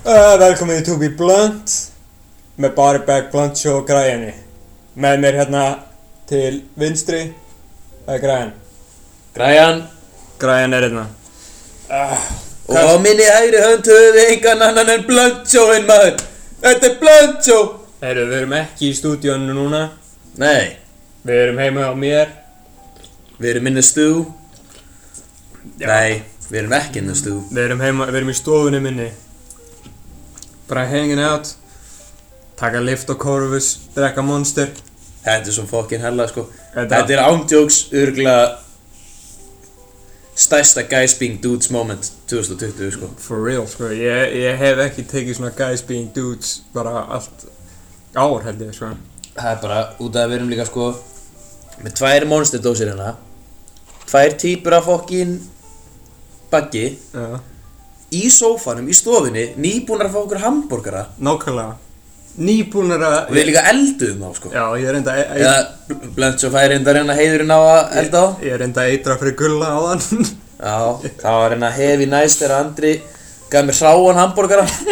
Uh, velkomin í To Be Blunt með Barry Beck, Blunt Show og Græni með mér hérna til vinstri það er Græn Græjan Græn er hérna Og á minni hægri hönd höfum við engan annan en Blöndsjóin maður Þetta er Blöndsjó Heyrðu, við erum ekki í stúdíónu núna Nei, við erum heima á mér við erum inni stú Nei, við erum ekki inni stú við erum heima, við erum í stofunni minni bara hanging out taka lift og korfus drekka monster Þetta er svo fokkin hella sko Þetta- Þetta er ándjóks örgla Stærsta guys being dudes moment 2020 sko for real sko, ég, ég hef ekki tekið svona guys being dudes bara allt ár held ég sko Það er bara út af að við erum líka sko Með tvær monsterdósir hérna Tvær típur af fokkin Baggi já, Í sófanum, í stofinni Nýbúnar að fá okkur hambúrgara nákvæmlega nýbúnar að Og við líka elduðum á sko Já, ég er enda ég, Eða Blönds og færi enda að reyna heiðurinn á að elda á ég er enda eitra fyrir gulla á þann Já, það var reyna hefi næst þegar Andri gaf mér hráan hambúrgara Það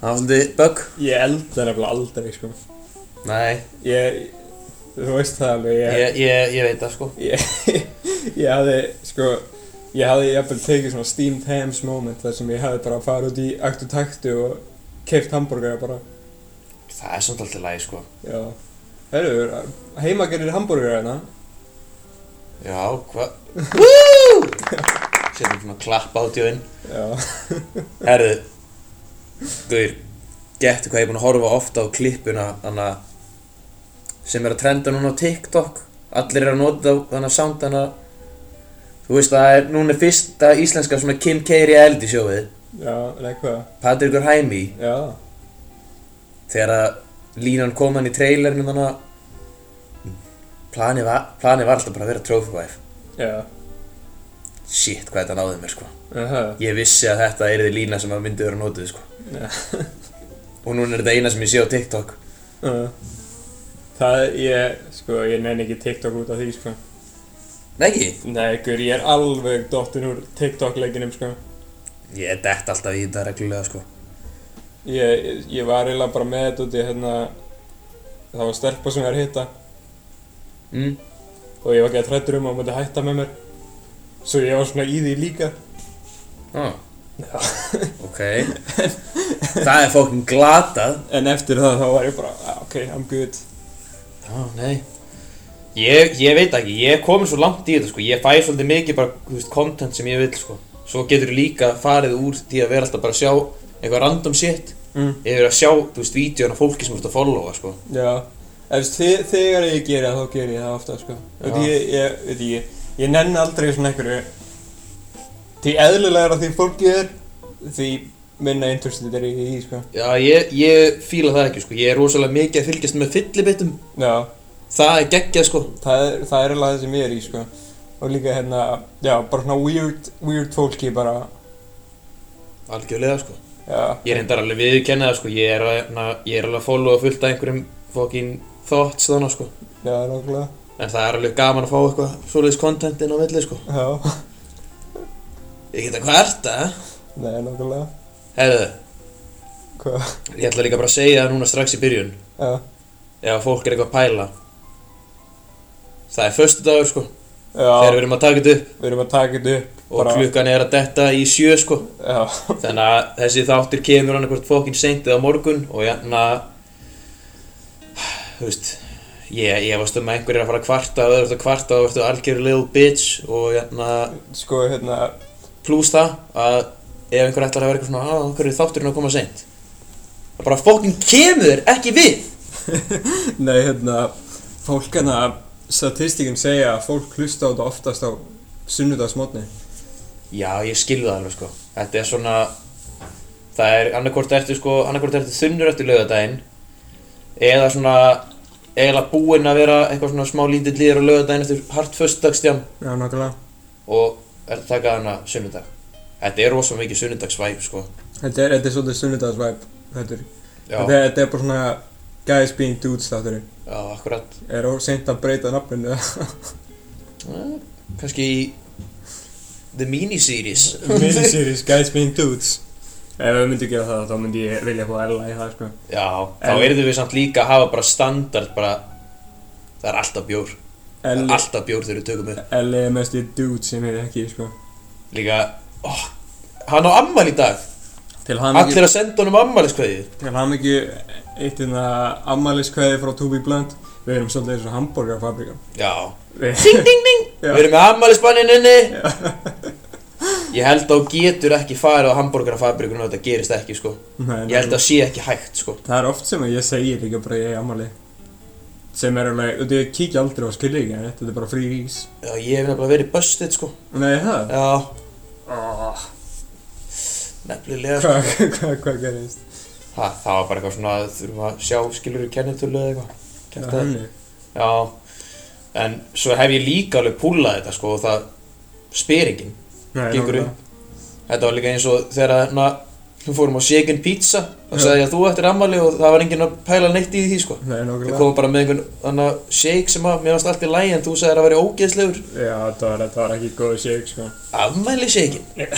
var svolítið bögg Ég elda nefnilega aldrei, sko Nei, Ég, þú veist það alveg Ég, ég, ég, ég veit það sko ég, ég hafði, sko Ég hafði jafnvel tekið svona steamed hams moment þar sem ég hafði bara farið út í aktu taktu og keift hambúrgara bara Það er svolítið alltaf læg sko Já Herru, heima gerir hambúrgara hérna Já, hvað? Woo! Settum svona klapp átjóinn Já Herðu Guður, getur hvað ég er búinn að horfa ofta á klippuna Þannig að Sem er að trenda núna á TikTok Allir eru að nota þannig að sound þannig að Þú veist það er núna er fyrsta íslenska svona Kim K. reality sjóið Já, nei hvað Patrikur Hæmi Já Þegar að línan kom hann í trailerinu þannig að Planið var, planið var alltaf bara að vera trophy wife Já Shit, hvað þetta náði mér sko Aha. Ég vissi að þetta er þið lína sem að myndi vera notuð sko Já. Og núna er þetta eina sem ég sé á TikTok Uh, það ég, sko, ég nenni ekki TikTok út af því, sko. Nei ekki? Nei, ykkur, ég er alveg dottinn úr TikTok-leikinum, sko. Ég er dett alltaf í þetta reglulega sko Ég, ég var eiginlega bara með þetta út í, hérna, það var stelpa sem ég var að hitta mm. og ég var gett hrættur um að hún myndi hætta með mér. Svo ég var svona í því líka. ah. Ok Það er fókin glatað En eftir það þá var ég bara, "Ah, ok, I'm good. Já, nei ég, ég veit ekki, ég er komin svo langt í þetta sko Ég fæ svolítið mikið bara, þú veist, content sem ég vil sko Svo getur líka farið úr því að vera alltaf bara að sjá eitthvað random shit Mm. Yfir að sjá, þú veist, vídjóna fólki sem þú ert að followa sko Já, ef þið, þegar ég geri það þá geri ég það ofta, sko. Þú veit Já. ég, ég, veit ekki, ég, ég nenni aldrei svona einhverju. Því eðlilegra því fólkið er, því minna interestið er ég í því, sko. Já, ég, ég fíla það ekki sko Ég er rosalega mikið að fylgjast með fyllibittum Já, Það er geggjað sko það er, það er alveg það sem ég er í, sko. Og líka hérna, já, bara svona weird, weird fólki bara, Algjörlega sko já. Ég reyndar alveg viðkenna það sko, ég er, að, na, ég er alveg að followa fullt af einhverjum fokkin thoughts þannig sko Já, nákvæmlega, En það er alveg gaman að fá eitthvað svoleiðis content inn á milli sko já, Ég geta hvað ert það? nei, nákvæmlega, Herðu, hvað, ég ætla líka bara að segja það núna strax í byrjun já, Ef fólk er eitthvað að pæla Það er föstu dagur sko, þegar við já, erum að taka þetta upp við erum að taka þetta upp, Og klukkan er að detta í sjö sko já, Þannig að þessi þáttur kemur hann eitthvað fokkin seint eða á morgun og hérna, þú veist, ég, ég varst um að einhverjir er að fara að kvarta og öðru að kvarta og ertu algjör little bitch og hérna, sko, hérna, pluss það að ef einhver ætlar að vera eitthvað svona, að hverju er þátturinn að koma seint, það bara fokkin kemur þér ekki við. Nei, hérna, fólk hérna, statistíkinn segja að fólk hlusta á þetta oftast á sunnudagsmotni. Já, ég skil það alveg sko, þetta er svona, það er annarkvort ertu sko, annarkvort ertu þunnur eftir lögadaginn eða svona eiginlega búinn að vera eitthvað svona smá lítill líður á lögadaginn eftir hart föstudagstjám Já, nákvæmlega. og er að taka þarna sunnudag Þetta er rosa mikið sunnudagsvæp sko Þetta er, þetta er svolítið sunnudagsvæp, þetta er. Já, Þetta er, þetta er bara svona guys being dudes þátturinn. já akkurat Er of seint að breyta nafninu það? Kanski í The Miniseries Miniseries guys being dudes. Ef við myndum gera það, þá myndi ég vilja fá Ella í það, sko. Já, þá En- erum við samt líka að hafa bara standard bara Það er alltaf bjór Það er Ella alltaf bjór þegar við tökum upp Ella er mest í dude sem er ekki, sko. Líka, ó, hann á ammali í dag Til hann Allir að senda honum ammaliskveðið Til hann ekki eitt inna ammaliskveði frá Tubi Blunt. Við erum svolítið eins og hambúrgarfabrikan. Já, Við... ding ding ding Já. Við erum með ammælisbanninn inni Ég held að þú getur ekki farið á hambúrgarafabrikunum og þetta gerist ekki sko Nei, Ég held að sé ekki hægt sko Það er oft sem ég segi líka bara ég er ammali sem er alveg, og ég kíkja aldrei á skilringin þetta er bara frí ís Já, ég hef nefnilega verið busted sko Nei, það? Já, Oh. Ah. nefnilega sko Hvað hva, hva gerist? ha, Það var bara eitthvað svona að þurfum að sjá skilur í kennitölu eða eitthvað Það Kjaftaði. þannig. Já, en svo hef ég líka alveg púlað þetta sko og það spyr enginn Nei, Gengur nákvæmlega. Þetta var líka eins og þegar na, við fórum á Shaken Pizza og Já. sagði ég að þú ættir ammali og það var enginn að pæla neitt í því sko Nei, Við nokkulega komum bara með einhvern annan shake sem að mér varst allt í lægi en þú sagðir að vera ógeðslegur Já, það var, það var ekki góð shake, sko Afmæli shakein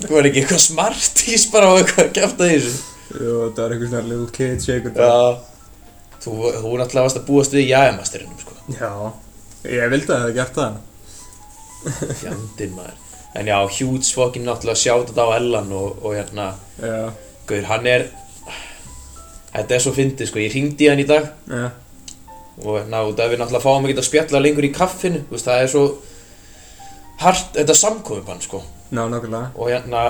Þú var ekki eitthvað smartís bara á eitthvað að kæfta því þessu Jú, það var eitthvað svona little kid shake og það. Já Þú, þú náttúrulega varst að búast við jæðamasterinum sko Já Ég vildi að það hefði gert það Fjandinn maður En já, huge fucking náttúrulega sjátt þetta á Ellan og, og hérna Já, Guður, hann er Þetta er svo fyndið sko, ég hringdi í hann í dag já, og ná, út af við náttúrulega fáum ekki að spjalla lengur í kaffinu, þú veist, það er svo hart, þetta samkofubann sko ná, nokkulega og hérna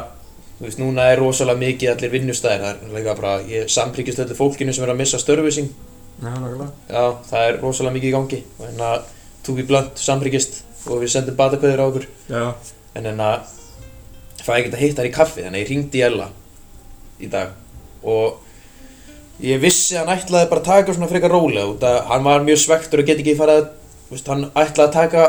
þú veist, núna er rosalega mikið allir vinnustæðir það er líka bara, ég samprikist öllu fólkinu sem er að missa störfi sín Já, nokkulega já, það er rosalega mikið í gangi og hérna, túk í blönd, samprikist og við sendum batakveður á okkur Já, en hérna, fæ ekki að hitta þær í kaffi þannig að ég ringdi í Ella í dag og ég vissi að hann ætlaði bara að taka svona frekar rólega út að hann var mjög svektur og geti ekki farið að, þú veist, hann ætlaði að taka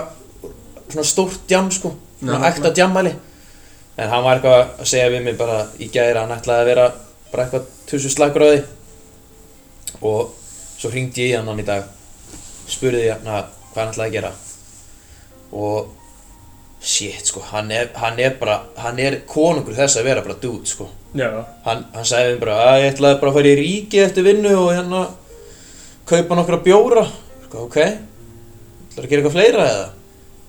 svona stórt djam sko svona Já, ekta djammæli en hann var eitthvað að segja við mig bara í gæri hann ætlaði að vera bara eitthvað tusu slagur á því og svo hringdi ég í hann hann í dag spurði ég hann að hvað hann ætlaði að gera og shit sko hann er, hann er bara hann er konungur þess að vera bara dude sko já, hann, hann sagði mér bara að ég ætlaði bara að fara í ríki eftir vinnu og hérna kaupa nokkra bjóra Ska, ok, ætlaði að gera eitthvað fleira eða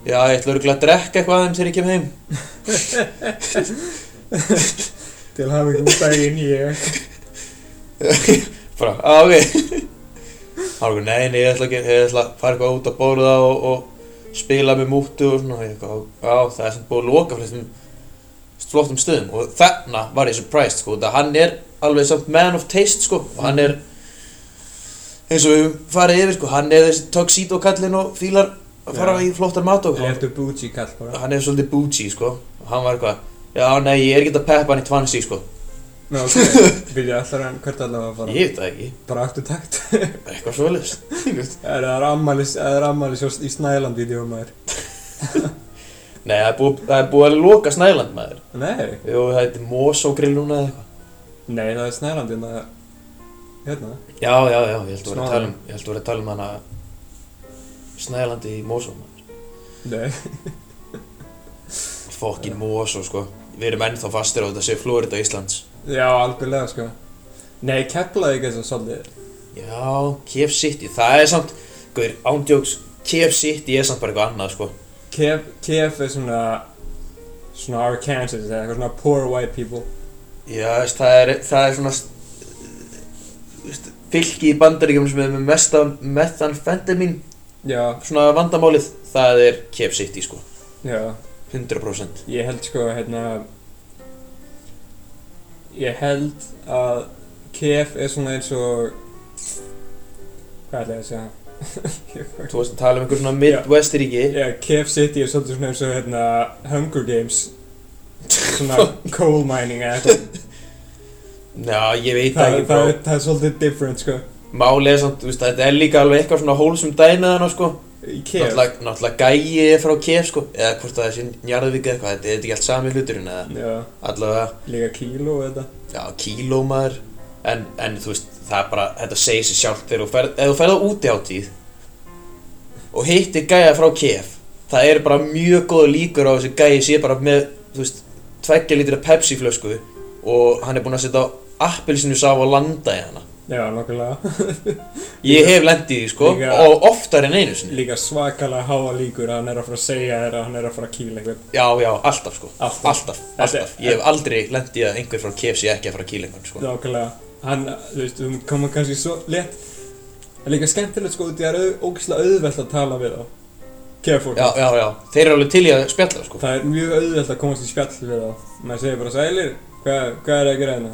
já, ég ætlaði örugglega að drekka eitthvað aðeins þegar ég kem heim til að hafa ekki um daginn ég bara, að ok hann var nein, ég ætla, ekki, ég ætla að fara eitthvað út að borða og, og spila með mútu og svona og ég, eitthvað, já, það er sem búið að loka flestum flottum stöðum og þarna var ég surprised sko, það hann er alveg samt man of taste sko, og hann er eins og við höfum farið yfir sko, hann er þessi tuxedo kallinn og fílar að fara Já. í flottar mat og hann, Léttu búti kall bara hann er svolítið bougie sko, og hann var eitthvað já, nei, ég er ekki að peppa hann í tvansi sko Ná, ok, byrja allar en hvert allar að fara ég veit það ekki, Bara aktu takt eitthvað svoleiðist Það er ammali, það er ammali svo í Snælandi í því og maður Nei, það er búið, það er búið að loka Snæland maður Nei, Jú, það heitir Mosógrill núna eða eitthvað nei, það er Snælandi en það Hérna Já, já, já, ég held að vera að tala um Ég held að vera að tala um hana Snælandi í Mosó maður Nei, Fokkin Mosó, sko Við erum ennþá fastir á þetta sé Florida Íslands já, algjörlega sko Nei, Keflavík er svo svolítið Já, KF City, það er samt Guður, ándjóks, KF City er samt bara eitthvað annað, sko Kef, Kef er svona Svona Arkansas eða eitthvað svona poor white people Já, veist, það er, það er svona veist, Fylki í bandaríkjum sem er með mesta methanfentamin Já, Svona vandamálið, það er KF City, sko já 100% Ég held sko, hérna Ég held að Kef er svona eins og Hvað ætla ég að segja? Ég var- Þú varst að tala um einhver svona Midwest ríki Já, Cave City er svolítið svona eins og hérna Hunger Games Svona coal mining eða eitthvað Já, ég veit það það, ekki það, frá er- það er svolítið different sko Málið er samt, þú veist, þetta er líka alveg eitthvað svona hólsum dæmið hana, sko Í Cave Náttúrulega, náttúrulega gæi er frá KF, sko Eða hvort það er sín Njarðvík eða eitthvað, þetta er þetta ekki allt sami hluturinn eða Já, Allavega, líka kíló og þetta já, kílómaður en, en þú veist, það er bara, þetta segir sér sjálft Þegar þú ferð, ef þú ferð á úti átíð Og hittir gæja frá KF Það er bara mjög góð líkur á þessi gæi sé bara með, þú veist, tveggja lítra Pepsi flösku og hann er búinn að setja appelsinu sá að landa í hana Já, nokkulega. ég hef lendið í því sko Líka- og oftar en einu sinni Líka svakalega háa líkur að hann er að fara að segja þér að hann er að fara að kýla einhvern. já já alltaf sko Alltaf. alltaf, alltaf. Þetta- ég hef aldrei lendið að einhver frá KFC ekki að fara að kýla einhvern sko Nákvæmlega, hann, þú veist, hún koma kannski svo létt En líka skemmtilegt sko, því það er au- ógeðslega auðvelt að tala við þá Kefólk já já já þeir eru alveg til í að spjalla sko Það er mjög auðvelt að komast í spjall við þá Maður segir bara, sælir, hvað, hvað er að gera hérna?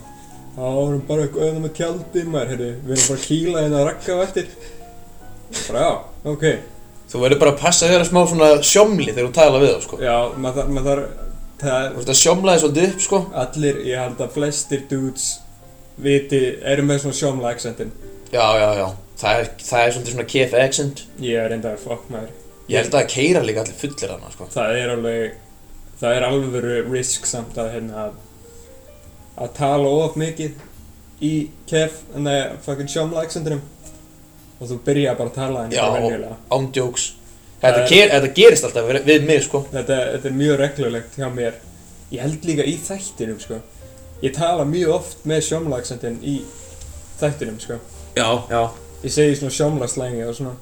Þá erum bara eitthvað auðvitað með tjaldi maður, heyrðu, við erum bara að kýla hérna að rakka á eftir Bara já, ok þú verður bara að passa þér að smá svona sjómli þegar þú tala við þá sko Já, maður þarf, maður þarf, það þú ert að sjómla þér svolítið upp sko Allir, ég held að flestir dudes viti, eru með svona sjómla accentin já já já það er, það er svolítið svona KFC accent Ég er reyndar, fuck maður ég held að keira líka allir fullir hana sko það er alveg það er alvöru risk samt að hérna að, að tala of mikið í kef en það er fucking sjómla accentinum og þú byrja bara að tala en Já, það og- er venjulega ándjóks Það þetta, er- ger, þetta gerist alltaf við, við mig sko þetta, þetta er mjög reglulegt hjá mér ég held líka í þættinum sko ég tala mjög oft með sjómla accentin í þættinum sko já já ég segi svona sjómla slengi og svona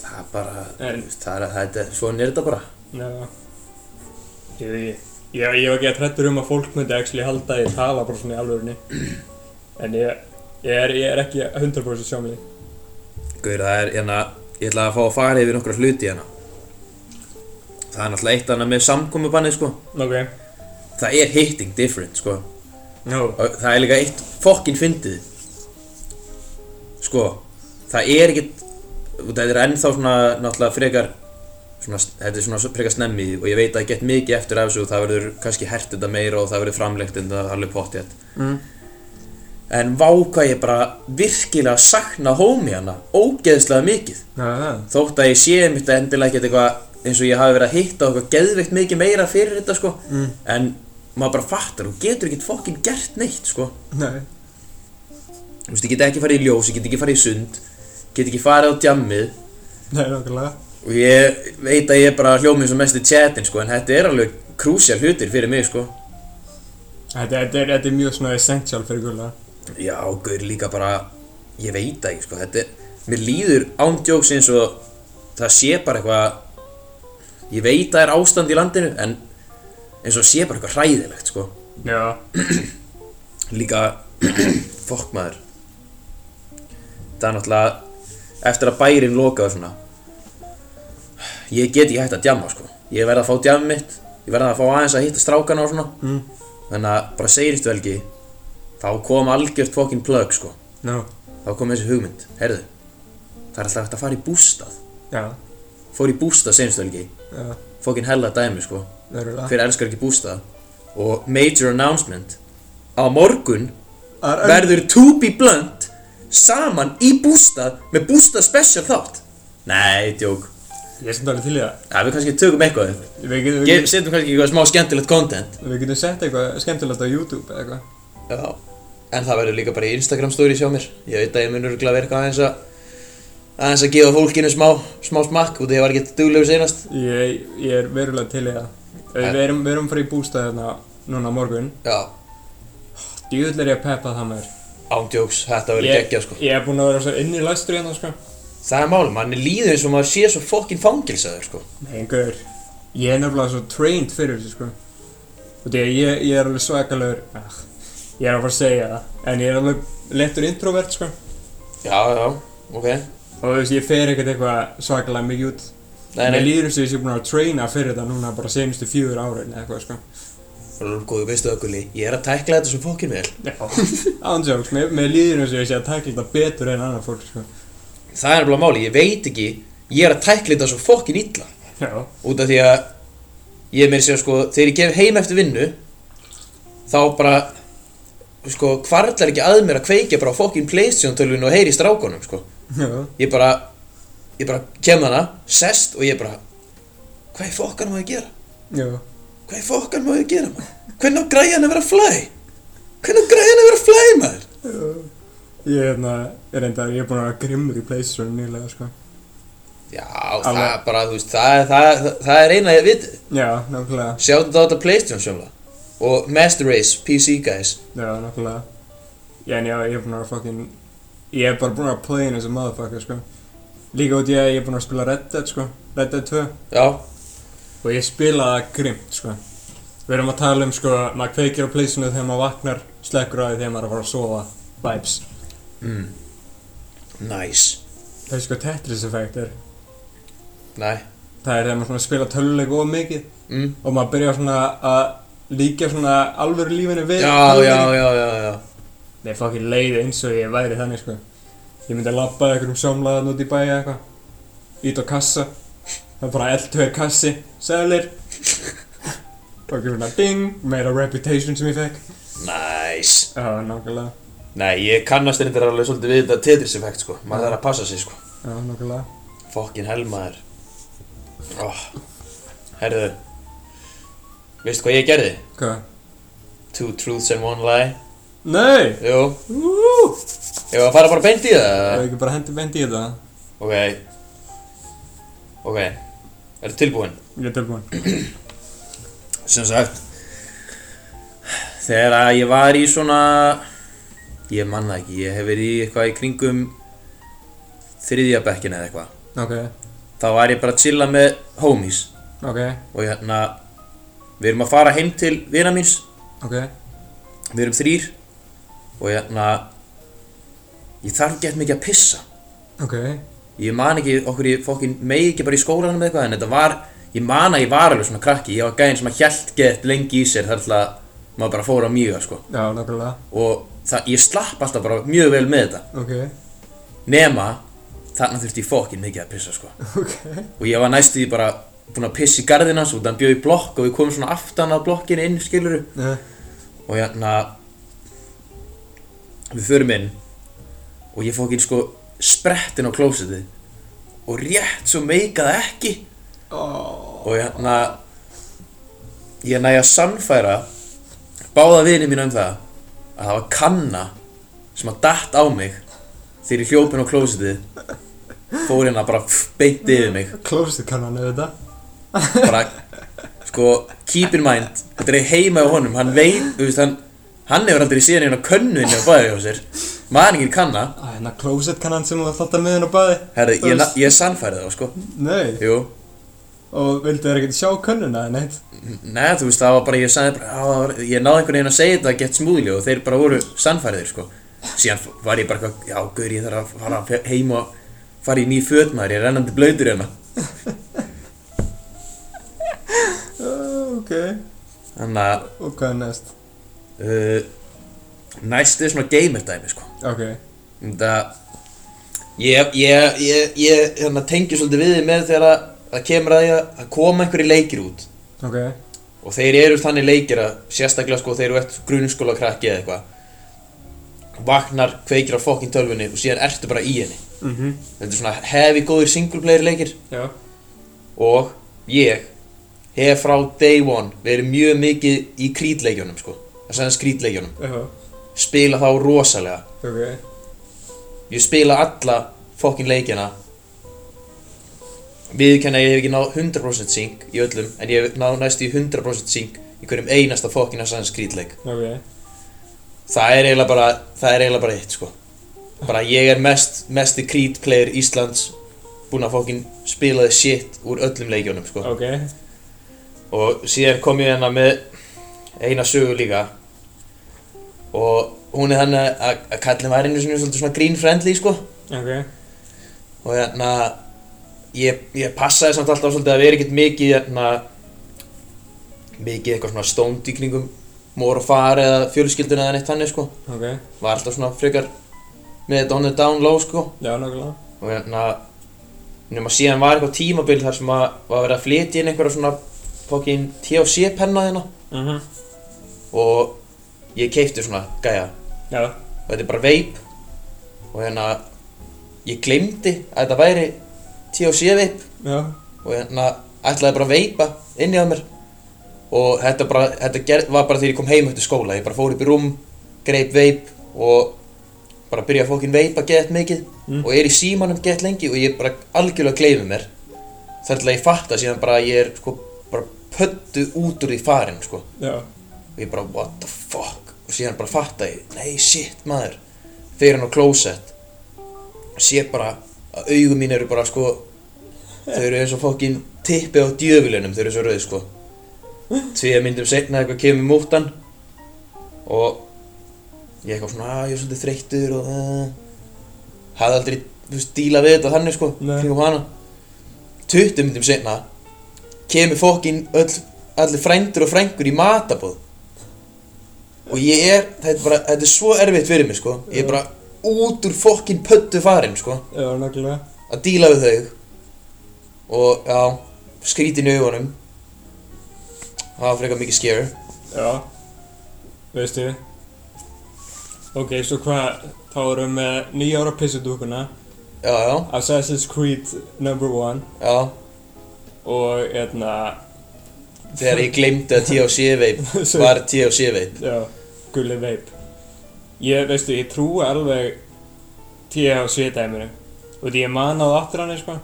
það er bara En- það er þetta svona er þetta bara Já. Ég veit ekki. Ég, ég var ekki að trættur um að fólk myndi actually halda að ég tala bara svona í alvörunni. En ég, ég, er, ég er ekki 100% sjómli. Guður, það er hérna ég ætla að fá að fara yfir nokkra hluti hérna það er náttúrulega eitt annað með samkomubannið sko Ok. það er hitting different sko No. og það er líka eitt fokkin fyndið sko það er ekkit þetta er ennþá svona náttúrulega frekar svona, þetta er svona frekar snemmi og ég veit að ég get mikið eftir af þessu og það verður kannski hert þetta meira og það verður framlegt en það er alveg pottjætt Mm. en váka ég bara virkilega sakna hómi hana ógeðslega mikið Já, já. þótt að ég sé mitt endilega ekkert eitthvað eins og ég hafi verið að hitta eitthvað geðveikt mikið meira fyrir þetta sko Mm. en maður bara fattar, þú getur ekkert fokkin gert neitt sko Nei. Þú veist, ég get ekki farið í ljós, ég get ekki farið í sund Get ekki farið á djammið Nei, nokkulega. Og ég veit að ég er bara hljómið sem mest í chatin, sko En þetta er alveg krúsjál hlutir fyrir mig, sko Þetta, þetta, er, þetta er mjög svona essential fyrir gulla. Já, gaur líka bara Ég veit það ekki, sko Þetta er, mér líður ándjóks eins og Það sé bara eitthvað Ég veit að það er ástand í landinu En eins og sé bara eitthvað hræðilegt, sko Já. Líka Fokk maður Það er náttúrulega Eftir að bærin lokaði svona Ég get ekki hægt að djamma sko Ég verð að fá djammið mitt Ég verð að fá aðeins að hitta strákana og svona Mm. Þannig að bara segirist vel ekki Þá kom algjört fokkin plögg sko No. Þá kom þessi hugmynd Herðu Það er alltaf hægt að fara í bústað Já. Fór í bústað senst vel ekki Já. Fokkin hella dæmi sko Verulega. Hver elskar ekki bústað Og major announcement Á morgun Það er verður To Be Blunt saman í bústað með bústað special þátt Nei, djók Ég er samt alveg til í það. Það við kannski tökum eitthvað upp. Við getum, við Ge- getum, Setjum kannski eitthvað smá skemmtilegt content við getum sett eitthvað skemmtilegt á YouTube eða eitthvað. Já En það verður líka bara í Instagram stories hjá mér Ég veit að ég mun örgulega verið eitthvað aðeins að aðeins að gefa fólkinu smá, smá smakk út af ég var ekki duglegur seinast Ég, ég er verulega til í það. Við En- erum, við erum fyrir í bústað hérna núna á morgun. Já, Djúvill er ég að peppa það maður. ándjóks, þetta verður Ég, geggjað sko ég er búinn að vera svo inn í læstur hérna sko Það er málum, manni líður eins og maður sé svo fokkin fangilsaður sko Nei, gaur Ég er nefnilega svo trained fyrir þessu sko Og því að ég, ég er alveg svakalegur ah, Ég er að fara að segja það En ég er alveg lettur introvert sko Já, já, ok Og þú veist, ég fer ekkert eitthvað svakalega mikið út Nei, Mér nei, líður eins og ég sé búinn að traina fyrir þetta núna bara senustu fjögur árin eða eitthvað sko góðu veistu ökulli Ég er að tækla þetta svo fokkin vel Já Ándjóks, mér, mér líður eins og ég sé að tækla þetta betur en annar fólk sko Það er alveg máli, ég veit ekki Ég er að tækla þetta svo fokkin illa Já Út af því að Ég meir sér sko, þegar ég gef heim eftir vinnu Þá bara Sko, hvarlar ekki að mér að kveikja Bara á fokkin playstation tölvinu og heyri í strákonum sko. Já Ég bara Ég bara kem hana, sest og ég bara Hvað í fokkan má ég gera? Já Hvað í fokkan má ég gera maður? Hvernig á græjan að vera flæ? Hvernig á græjan að vera flæ maður? Ég er hérna, ég er reyndar, ég er búinn að vera grimmur í playstation nýlega sko Já, það Alveg. er bara, þú veist, það, það, það, það er eina að við Já, nákvæmlega Sjáttu þetta á þetta playstation sjómla Og Master Race, PC guys Já, nákvæmlega Já, en já, ég er búinn að fucking Ég er bara búinn að playin þessu motherfucker, sko Líka út í að ég er búinn að spila Red Dead, sko Red Dead 2 Já, Og ég spila það grimt, sko Við erum að tala um, sko, maður kveikir á pleysinu þegar maður vaknar Slekkur á því þegar maður er að fara að sofa Vibes mm. Nice Það er sko Tetris effect er Næ, Það er þegar maður svona spila töluleik of mikið mm. Og maður byrja svona að líka svona alvöru lífinu við já, já, já, já, já Nei, fokkin leið eins og ég væri þannig, sko. Ég myndi að labba einhverjum sjómlaðan út í bæja eitthvað. Ít á kassa. Það er bara L2 kassi. Selir. Fokkin svona ding. Meira reputation sem ég fekk. Nice Já, nákvæmlega. Nei, ég kannast þetta alveg svolítið við þetta Tetris effect sko Maður Já. þarf að passa sig sko Já, nákvæmlega. Fokkin helmaður oh. Herðu Veistu hvað ég gerði? Hvað? Two truths and one lie Nei! Jú, Úúú! ég var að fara bara beint í það Það er ekki bara hendi bendi í þetta. Ok Ok Ertu tilbúin? Ég er tilbúinn. Sem sagt Þegar að ég var í svona Ég manna ekki, ég hef verið í eitthvað í kringum Þriðja bekkin eða eitthvað Ok. Þá var ég bara að chilla með homies Ok. Og hérna Við erum að fara heim til vina míns Ok. Við erum þrýr Og hérna Ég þarf gett mikið að pissa Ok. Ég man ekki, okkur ég fokkin megi ekki bara í skólanum eða eitthvað En þetta var, ég man að ég var alveg svona krakki Ég var gæðin sem að hjælt gett lengi í sér Þar til að maður bara fór á mjög sko Já, nákvæmlega. Og það, ég slapp alltaf bara mjög vel með þetta Ok. Nema, þarna þurfti ég fokkin mikið að pissa sko Ok. Og ég var næstu því bara búinn að pissa í garðina Svo þannig bjöð í blokk og við komum svona aftan að blokkinni inn skiluru Já. og hérna við förum inn og ég fók inn sko sprettin á klósitið og rétt svo meikaði ekki Ó. og hérna ég næja að sannfæra báða vini mín um það að það var kanna sem að datt á mig þegar ég hljópin á klósitið fór hérna bara pff, beint yfir mig Close it kannan auðvitað. bara, sko, keep in mind þetta er heima á honum, hann veit þú veist, hann, hann hefur aldrei síðan einhvern könnu inn á bæði hjá sér, maðurinn kanna Æ, hérna closet kannan sem þú þátt að miðin á baði herri, ég, na- ég sannfærið þá, sko Nei, jú, og vildu þér ekkert sjá könnuna eða neitt? neða, þú veist, það var bara ég sagði bara, á, það var, ég náði einhvern veginn að segja þetta gett smúðli og þeir bara voru sannfæriðir, sko síðan f- var ég bara, eitthvað, já, gaur, ég þarf að fara fe- heim og fara í ný föt, maður, ég er rennandi blöytur hérna Uh, ok, þannig að, og hvað er næst? uh, næst er svona gamer dæmi, sko Ok, Þetta Ég, ég, ég, ég hérna, tengi svolítið við því með þegar að það kemur að því að að koma einhverjir leikir út ok, og þeir eru þannig leikir að sérstaklega sko þeir eru eftir grunnskóla krakki eða eitthvað vagnar, kveikir á fokkin tölvunni og síðan ertu bara í henni mhm, þetta er svona hefi góðir single player leikir já, og ég hef frá day one verið mjög mikið í krítleikjunum sko að segja skrítleikjunum já, spila þá rosalega ok, Ég spila alla fokkin leikina Viðurkenna að ég hef ekki náð 100% sync í öllum En ég hef náð næst í 100% sync Í hverjum einasta fokkin að sann skrítleik ok, Það er eiginlega bara, það er eiginlega bara eitt sko Bara ég er mest, mesti krítplayer Íslands Búinn að fokkin spilaði shit úr öllum leikjónum sko ok, Og síðan kom ég hérna með eina sögu líka Og hún er þannig að, að kallin var einu sinni svolítið svona green friendly sko ok, og hérna ég, ég passaði samt alltaf svolítið að vera ekkert mikið hérna mikið eitthvað svona stónd í kringum mor og far eða fjölskylduna eða neitt þannig sko ok, var alltaf svona frekar með þetta on the down low sko já, nákvæmlega, og hérna nema síðan var eitthvað tímabil þar sem að var verið að flytja inn einhverja svona fokkin THC penna þina mhm, og ég keipti svona gæja já, og þetta er bara veip og hérna ég glemdi að þetta væri THC veip já, og hérna ætlaði bara að veipa inni á mér og þetta, bara, þetta ger, var bara þegar ég kom heim eftir skóla ég bara fór upp í rúm, greip veip og bara byrja að fókin veipa gett mikið Mm. og er í símanum gett lengi og ég bara algjörlega gleyfi mér þar til að ég fatta síðan bara að ég er sko bara pöttu út úr því farin sko já, og ég bara what the fuck og síðan bara fatta ég, nei shit maður fyrir hann á klósett sé bara að augum mín eru bara sko þau eru eins og fokkin tippi á djöfulunum þau eru svo rauð sko tvíða myndum setna eitthvað kemur múttan og ég eitthvað svona að ég er svolítið þreyttur og uh, hafði aldrei þú veist, díla við þetta þannig sko Nei. kringum hana 20 myndum setna kemur fokkin öll, allir frændur og frængur í matabóð og ég er þetta er, bara, þetta er svo erfitt fyrir mig sko ég er bara út úr fokkin pöttu farinn sko Já, nokkulega. að díla við þau og já, skrítin í augunum það var frekar mikið scare Já. Veistu. Ok, svo hvað, þá erum við með nýja ára pissudúkuna, já, já, Assassin's Creed number one já og hérna, þegar ég glemdi að THC vape var THC vape já, gulli veip. Ég, veistu, ég trúi alveg THC dæminu. Og því ég man á aftur hann, sko.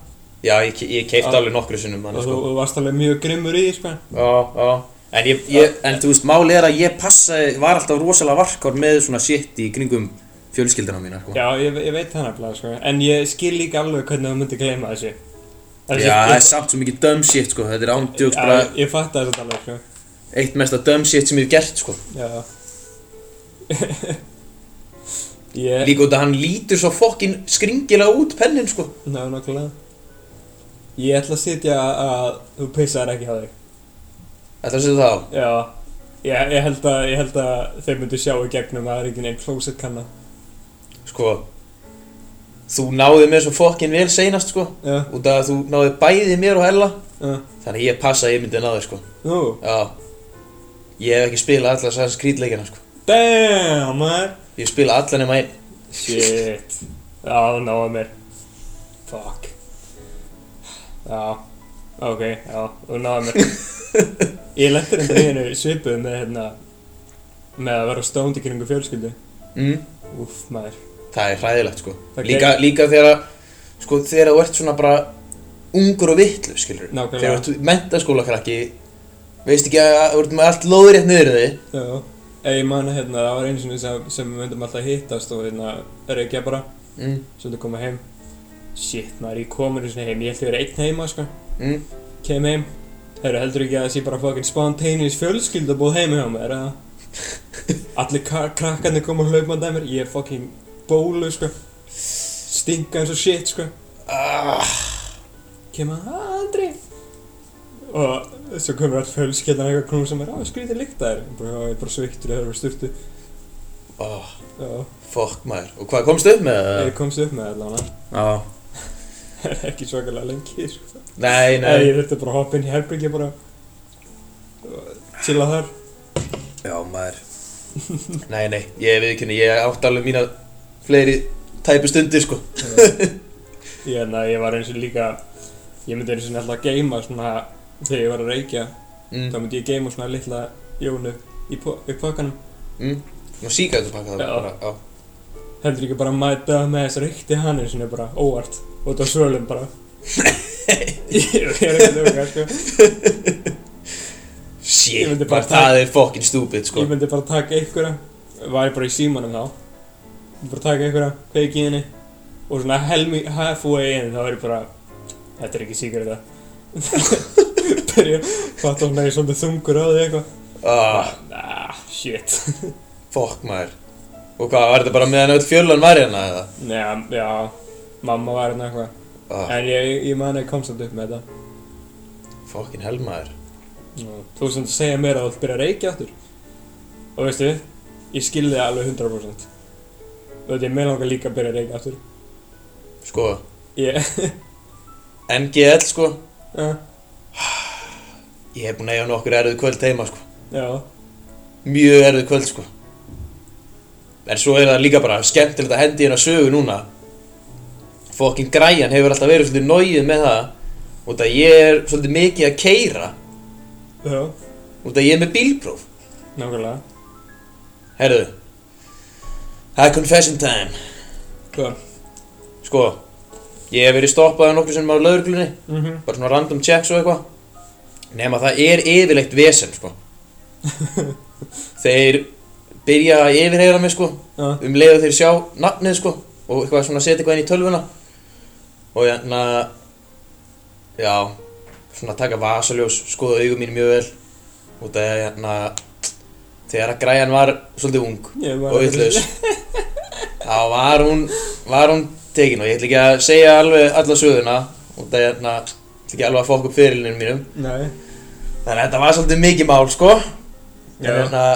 já, ég, ég keipti Já. alveg nokkru sinnum hann, Og þú, sko. þú varst alveg mjög grimmur í, því, sko. já, já en, ég, ég, en þú veist, máli er að ég passaði var alltaf rosalega varkar með svona shit í kringum fjölskyldana mína sko. Já, ég, ég veit það nefnilega, sko. En ég skil líka alveg hvernig þú myndi gleyma þessu. já, Þessi- ég- það er samt svo mikið dumb shit sko. þetta er ándjóks bara sko. Já, ég fatt að þetta alveg, sko. eitt mesta dumb shit sem ég hef gert sko. Já. ég, líka út að hann lítur svo fokkin skringilega út pennin sko. ná, nokkulega. Ég ætla að sitja að þú pissar ekki á þig. Þetta séu það á Já. Ég, ég, held að, ég held að þeir myndu sjá í gegnum að það er enginn einn closet kanna. sko þú náði mér svo fokkin vel seinast sko Já. út af að þú náði bæði mér og hella Já. þannig að ég passa að ég myndi náði sko Nú. já ég hef ekki spilað allar sæðan skrítleikina sko Damn, man. ég spila allar nema einn Shit. Já, það náði mér. Fuck. Já. Ok, já, þú náði mér. Ég lendir um daginu svipuð með hérna með að vera stónd í kringu fjölskyldu. mm. Úff, maður. það er hræðilegt sko Það líka, líka þegar að- sko þegar þú ert svona bara ungur og vitlu skilur Nákvæmlega. þegar þú ert mentaskóla krakki veist ekki að þú ert með allt lóður rétt niður í þig Já. Eða ég man hérna, það var einu sinni sem, sem við myndum alltaf að hittast og hérna reykja bara, mm. svo þetta koma heim. Shit, maður, ég kom einu sinni heim, ég held ég verið einn heima, sko. Mm. Kem heim. Heyrðu, heldur ekki að það sé bara fucking spontaneous fjölskylda búið heima hjá mér, eða? Allir kra- krakkarnir koma hlaupandi að mér, ég er fucking bólu, sko. Stinka eins og shit, sko. Ah, kemur að Andri og svo komur all fjölskeldan eitthvað knúm sem er á skrítið líkt að þér og bara, "Já, ég er bara sveittur eða verið styrtu oh, og fuck maður og hvað komst upp með það? ég komst upp með allan Já. ekki svakalega lengi sko. Nei, Nei, nei ég þurfti bara að hoppa inn í herbyggja bara og chilla þar Já, maður Nei, nei, ég veit ekki, ég átti alveg mína fleiri tæpu stundir, sko ég, na, ég var eins og líka ég myndi eins og alltaf að geima svona þegar ég var að reykja þá mm. myndi ég geima svona litla jónu í, po í pakkanum mm. Nú síka þetta pakka það Já. bara, já heldur ekki bara að mæta með þess reykti hann eins og niður bara óvart út á svölum bara ég er ekki að ljóka sko. Ég Shit, myndi bara maður, það er fokkin stúpid, sko ég myndi bara taka einhverja var ég bara í símanum þá myndi bara taka einhverja kveiki í henni og svona helmi, halfway in þá er ég bara þetta er ekki síkrita byrja fatt og nægir svolítið þungur á því eitthvað ah, ah, shit Fokk, maður Og hvað, var þetta bara meðan öll fjölan var hérna, eða? Nei, já, mamma var hérna eitthvað Ah, en ég, ég man ekki komst upp með þetta fokkin hel, maður Nú, Þú sem segja mér að þú vilt byrja að reykja aftur Og veistu, ég skilði það alveg 100% Þú veit, ég með langar líka að byrja að reykja aftur Sko, Ég, Ah. NGL, sko já, Ég hef búin að eiga nokkur erfið kvöld heima, sko já, Mjög erfið kvöld, sko En svo er það líka bara skemmtilegt að hendi hérna sögu núna Fokkin græjan hefur alltaf verið svolítið nóið með það Út að ég er svolítið mikið að keira já, Út að ég er með bílpróf nákvæmlega Herðu Það er confession time Hvað? Sko Ég hef verið stoppaði nokkur sem á lauruglunni Mhm, Bara svona random checks og eitthvað Nefn að það er yfirleitt vesen, sko þeir byrja að yfirheyra mig sko Já, um leiðu þeir sjá nafnið sko og eitthvað svona setja eitthvað inn í tölvuna og hérna já, svona taka vasaljós skoða augum mín mjög vel út af hérna þegar að græjan var svolítið ung ég var og vitlaus þá var hún var hún tekin og ég ætla ekki að segja alveg alla söguna og það er hérna ég ætla ekki alveg að fokk upp fyrirlinu mínum Nei, þannig að þetta var svolítið mikið mál sko en Já. hérna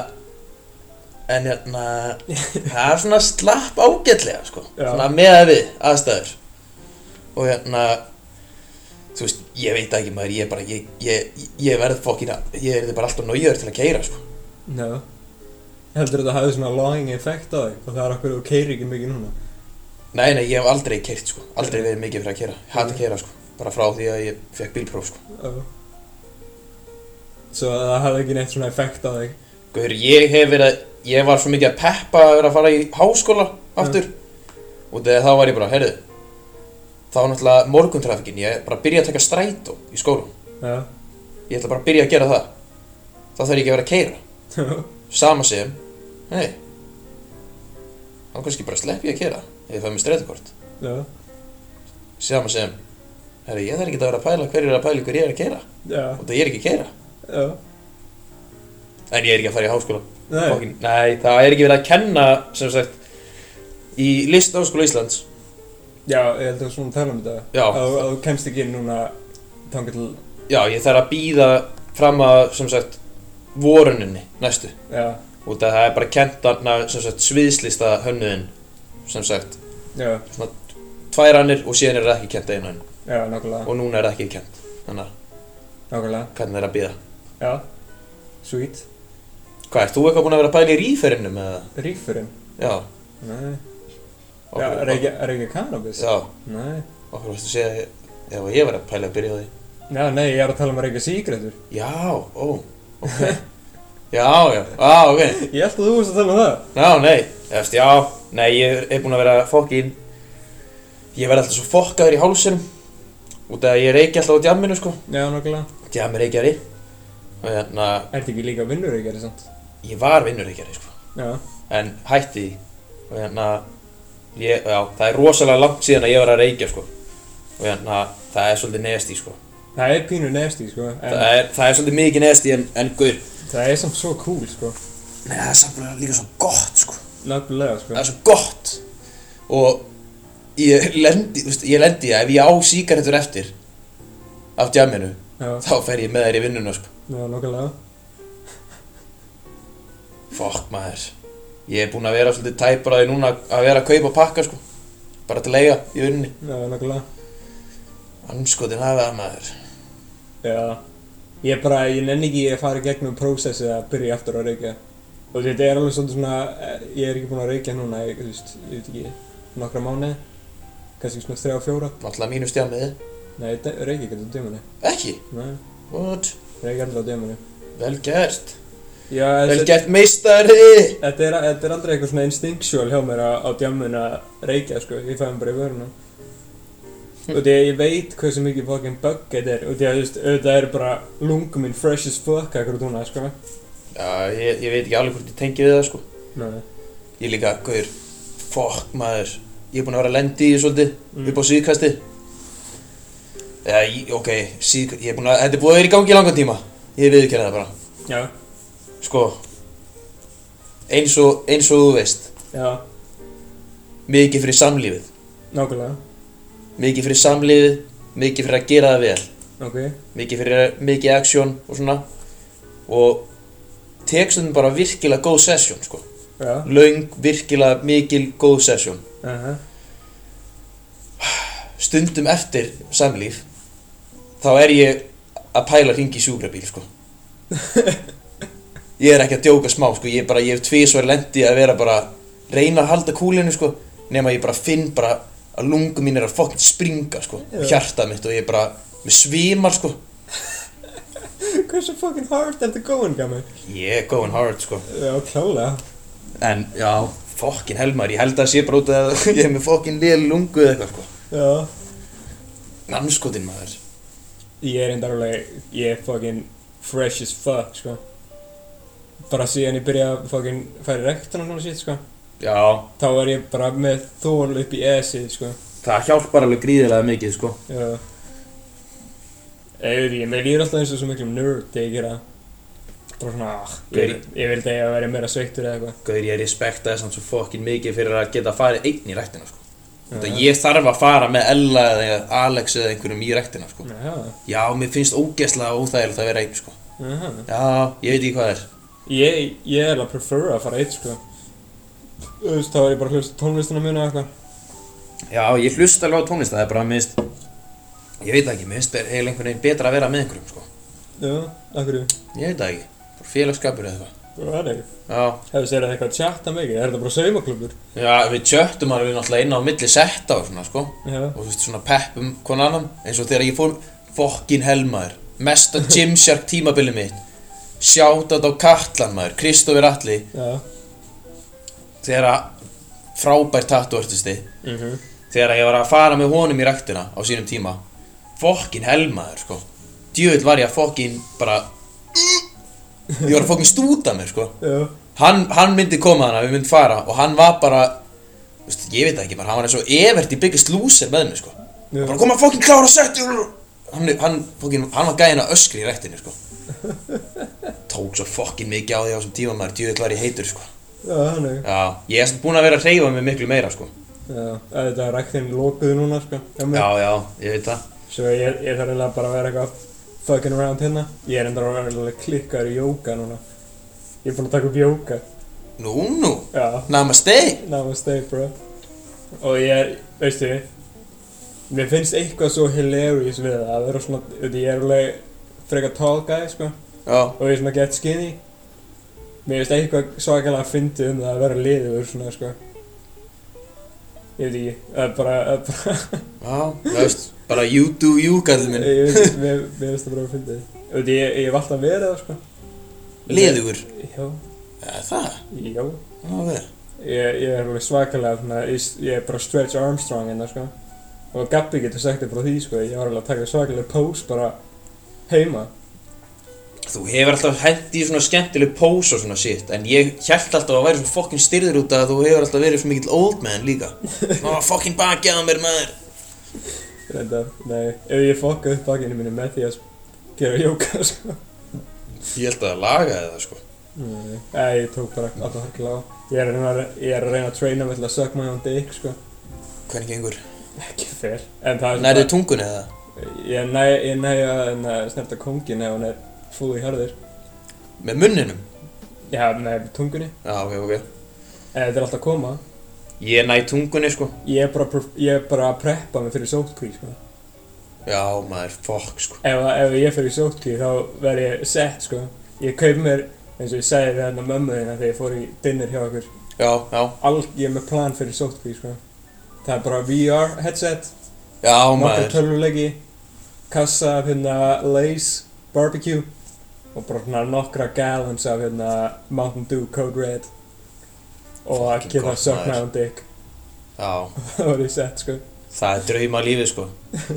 en hérna það er svona slapp ágætlega sko Já. svona með við aðstæður og hérna þú veist, ég veit það ekki maður ég er bara, ég, ég, ég verð fokkina ég er bara alltaf nájöður til að keira sko já Heldur þetta hafði svona longing effect á þig og það er okkur þú keyrir ekki mikið núna Nei, nei, ég hef aldrei keirt sko, aldrei verið mikið fyrir að keira, ég hata að keira sko, bara frá því að ég fekk bílpróf sko. Já Svo að það hafði ekki neitt svona effect á þig Guður, ég hef verið að, ég var svo mikið að peppa að vera að fara í háskóla aftur og þegar þá var ég bara, heyrðu, þá var náttúrulega morguntrafikin, ég bara byrja að taka strætó í skólan, Já ég ætla bara að byrja að gera það, þá þarf ég ekki að vera að keira, sama sem, nei, þá kannski bara slepp ég að keira, ef ég fæ mér strætókort, Já sama sem, heyrðu, ég þarf ekki að vera að pæla hverju er að pæla hverju ég er að keira, Já og það ég er ekki að keira. Já En ég er ekki að fara í háskóla Nei Fokkin- Nei, það er ekki verið að kenna sem sagt í list háskóla Íslands Já, ég held að svona tala um þetta Já. Að að þú kemst ekki inn núna Tanga til Já, ég þarf að býða fram að sem sagt voruninni næstu Já og það er bara kent þarna sem sagt sviðslista hönnuðin sem sagt Já tvær hannir og síðan er það ekki kent einu hann Já, nákvæmlega og núna er það ekki kent þannig að Nákvæmlega hvernig er að býða Já Sweet Hvað, ert þú eitthvað búin að vera að pæla í ríferinum eða? Rífurinn Já, Nei Já, okkur- er ekki, er ekki cannabis Já, Nei okkur varstu að segja ef ég var að pæla að byrja á því Já, nei, ég er að tala um að reyka sígrætur Já, ó, ok Já, já, á, ok Ég held að þú veist að tala um það Já, nei, eftir, já, nei, ég er búin að vera fokkin Ég verð alltaf svo fokkaður í hálsinum Út af að ég reiki alltaf á djamminu, sko Já, nákvæmlega Djammi reikjari Og hérna, Ertu ekki líka vinnur reykjari, sant? ég var vinnur reikjari, sko Já En hætti því Og hérna, ég, já, það er rosalega langt síðan að ég var að reikja, sko Og hérna, það er svolítið neðst sko Það er pínu nefst sko En það er, það er svolítið mikið neðst en, en guður það er samt svo cool, sko Nei, það er samt bara líka svo gott, sko Nöfnilega, sko það er svo gott og ég lendi, þú veist, ég lendi að ef ég á sígarettur eftir af djaminu, Já, þá fer ég með þær í vinnuna sko. já, nákvæmlega fokk maður ég er búinn að vera svolítið tæpur að því núna að vera að kaupa og pakka sko. bara til að leiga í vinnunni Já, nákvæmlega anskotin hafa það maður Já Ég bara, ég nenni ekki að fara í gegnum prósessið að byrja aftur að reykja Og þetta er alveg svolítið svona eh, Ég er ekki búinn að reykja núna, ég, þú veist, ég veit ekki Nokkra mánuði Kannski svona þrjá, fjóra náttúrulega mínu stjamiði, Nei, ég de- reykja ekki alltaf á dæmunni ekki Nei, What? reykja alltaf á dæmunni vel gert, Já, vel þetta, gert meistari þetta, er, þetta er aldrei eitthvað svona instinctual hjá mér að- á djamun að reykja, sko, ég fæði bara í vöruna Og því að ég veit hversu mikið fucking bug þetta er Og því að, þú veist, auðvitað er bara lungum minn fresh as fuck akkur núna, sko já, ég, ég veit ekki alveg hvort ég tengi við það sko. Nei, ég líka, guður, fokk maður ég er búinn að vera að lendi í því svolítið Mm. upp á síðkasti eða, ég- ok, síðk, ég er búinn að þetta er búið að vera í gangi í langan tíma ég viðurkenna það bara, já, sko eins og, eins og þú veist já mikið fyrir samlífið, Nákvæmlega, mikið fyrir samlífið mikið fyrir að gera það vel ok, mikið fyrir, mikið action og svona og tekstum bara virkilega góð sesjón, sko já, löng, virkilega mikil góð sesjón aha, stundum eftir samlíf þá er ég að pæla hringi í sjúkrabíl sko ég er ekki að djóka smá sko ég er bara, ég hef tvísvar lendi að vera bara reyna að halda kúlinu sko nema ég bara finn bara að lungu mín er að fokkin springa sko Já. hjartað mitt og ég er bara með svimar sko Hversu fucking hard er þetta going, gammal? ég er going hard sko Já, klálega en já, fokkin helmar ég held að það sé bara út af að ég er með fokkin liðl lungu eða eitthvað sko Já anskotin maður Ég er enda alveg, ég er fucking fresh as fuck, sko bara síðan ég byrja að fucking færi rektan og svona shit, sko Já, þá er ég bara með þól upp í esið, sko það hjálpar alveg gríðilega mikið, sko. Já Eður ég, mér líður alltaf eins og svo miklum nerd þegar ég gera það bara svona, ah, ég, Gauði. ég vildi að ég vera meira sveittur eða eitthvað Gauður, ég respektaði samt svo fokkin mikið fyrir að geta farið einn í rættina, sko. Þetta Já. ég þarf að fara með Ella eða Alex eða einhverjum í rættina, sko. Já, Já, mér finnst ógeðslega óþægilegt að vera einn, sko. já Já, ég veit ekki hvað það er. Ég, ég er að prefera að fara eitt, sko Þú veist, þá er ég bara að hlusta á tónlistina mínu eða eitthvað Já, ég hlusta alveg á tónlist, það er bara minnst, ég veit það ekki, minnst er heil einhvern veginn betra að vera með einhverjum, sko. Já, af hverju Ég veit það ekki, bara félagskapur eða eitthvað. Bara það er ekki Já, Hefur þið eitthvað að chatta mikið, er þetta bara saumaklubur? já, við tjöttum alveg náttúrulega inn á milli setta og svona, sko. Já Og þú veist, svona peppum hvern annan, eins og þegar ég fór fokkin helmaður, mesta Gymshark tímabilið mitt, sjátat á Katlan maður, Kristofur Atli, Já þegar að frábær tattuartisti, Mhm þegar ég var að fara með honum í ræktina á sínum tíma fokkin helmaður sko djöðl var ég að fokkin bara ég var að fokkin stúta mér sko Já hann, hann myndi koma hana, við myndi fara og hann var bara þú veist, ég veit það ekki bara, hann var eins og evert í byggist lúser með mér sko Já. bara koma fokkin klára að setja hann, hann, fokkin, hann var gæðin að öskri í ræktinu sko tók svo fokkin mikið á því á þessum tíma maður djöðl var ég heitur sko Já, hann er já, ég er samt búinn að vera að reyfa mig miklu meira sko Já, að þetta er ræktin lókuðu núna, sko hjá mér. já, já, ég veit það Svo ég, ég þarf eiginlega bara að vera eitthvað fucking around hérna. Ég er enda að vera eiginlega klikkaður í jóka núna. Ég er búinn að taka upp jóka. Nú, nú, Já, namaste namaste bro. Og ég er, veistu, mér finnst eitthvað svo hilarious við það að vera svona, veitu, ég er alveg frekar tall guy, sko, Já, og ég er svona get skinny. Mér finnst eitthvað svakalega að fyndi um það að vera liður svona, sko. Ég veit ekki, það er bara, það er bara... já, þú veist, bara you do you, gallið minn Ég veit, mér mér finnst það bara að fyndi Þú veit, ég, ég hef alltaf verið það, sko Leðugur Já, ja, Það, já það var vel Ég, ég er alveg svakalega, svona, ég, ég er bara stretch Armstrong hérna, sko Og Gabbi getur sagt þér frá því, sko Ég var alveg að taka svakalega pose bara heima Þú hefur alltaf hent í svona skemmtileg pós og svona shit En ég held alltaf að væri svona fokkin styrður út af að þú hefur alltaf verið svona mikill old man líka Ná, fokkin bakið á mér maður Þetta, nei, ef ég fokka upp bakinu mínu með því að gera jóka, sko Ég held að það lagaði það, sko Nei, nei, ég tók bara alltaf harkilega á Ég er að reyna, ég er að, reyna að traina með til að suck my own dick, sko Hvernig gengur? Ekki fyrr En það er Nærðu tungunni eða? Ég næ, ég næ að hérna, snerta kóngin ef hún er full í harðir. Með munninum? Já, með tungunni. Já, ok, ok En þetta er alltaf að koma. Ég næ tungunni, sko Ég er bara, pref- ég er bara að preppa mig fyrir sótkví, sko. Já, maður, fokk, sko Ef, að- ef ég fyrir sótkví þá verð ég sett, sko. Ég kaup mér, eins og ég segi við hérna mömmu þína þegar ég fór í dinner hjá okkur. Já, já, All, ég er með plan fyrir sótkví, sko. Það er bara VR headset, já, nokkar maður tölvuleiki, kassa af hérna Lays, barbecue og bara svona nokkra gallons af hérna Mountain Dew Code Red og að Fucking geta gott, maður. sökna á um dick Já, það var ég sett sko Það er drauma lífið sko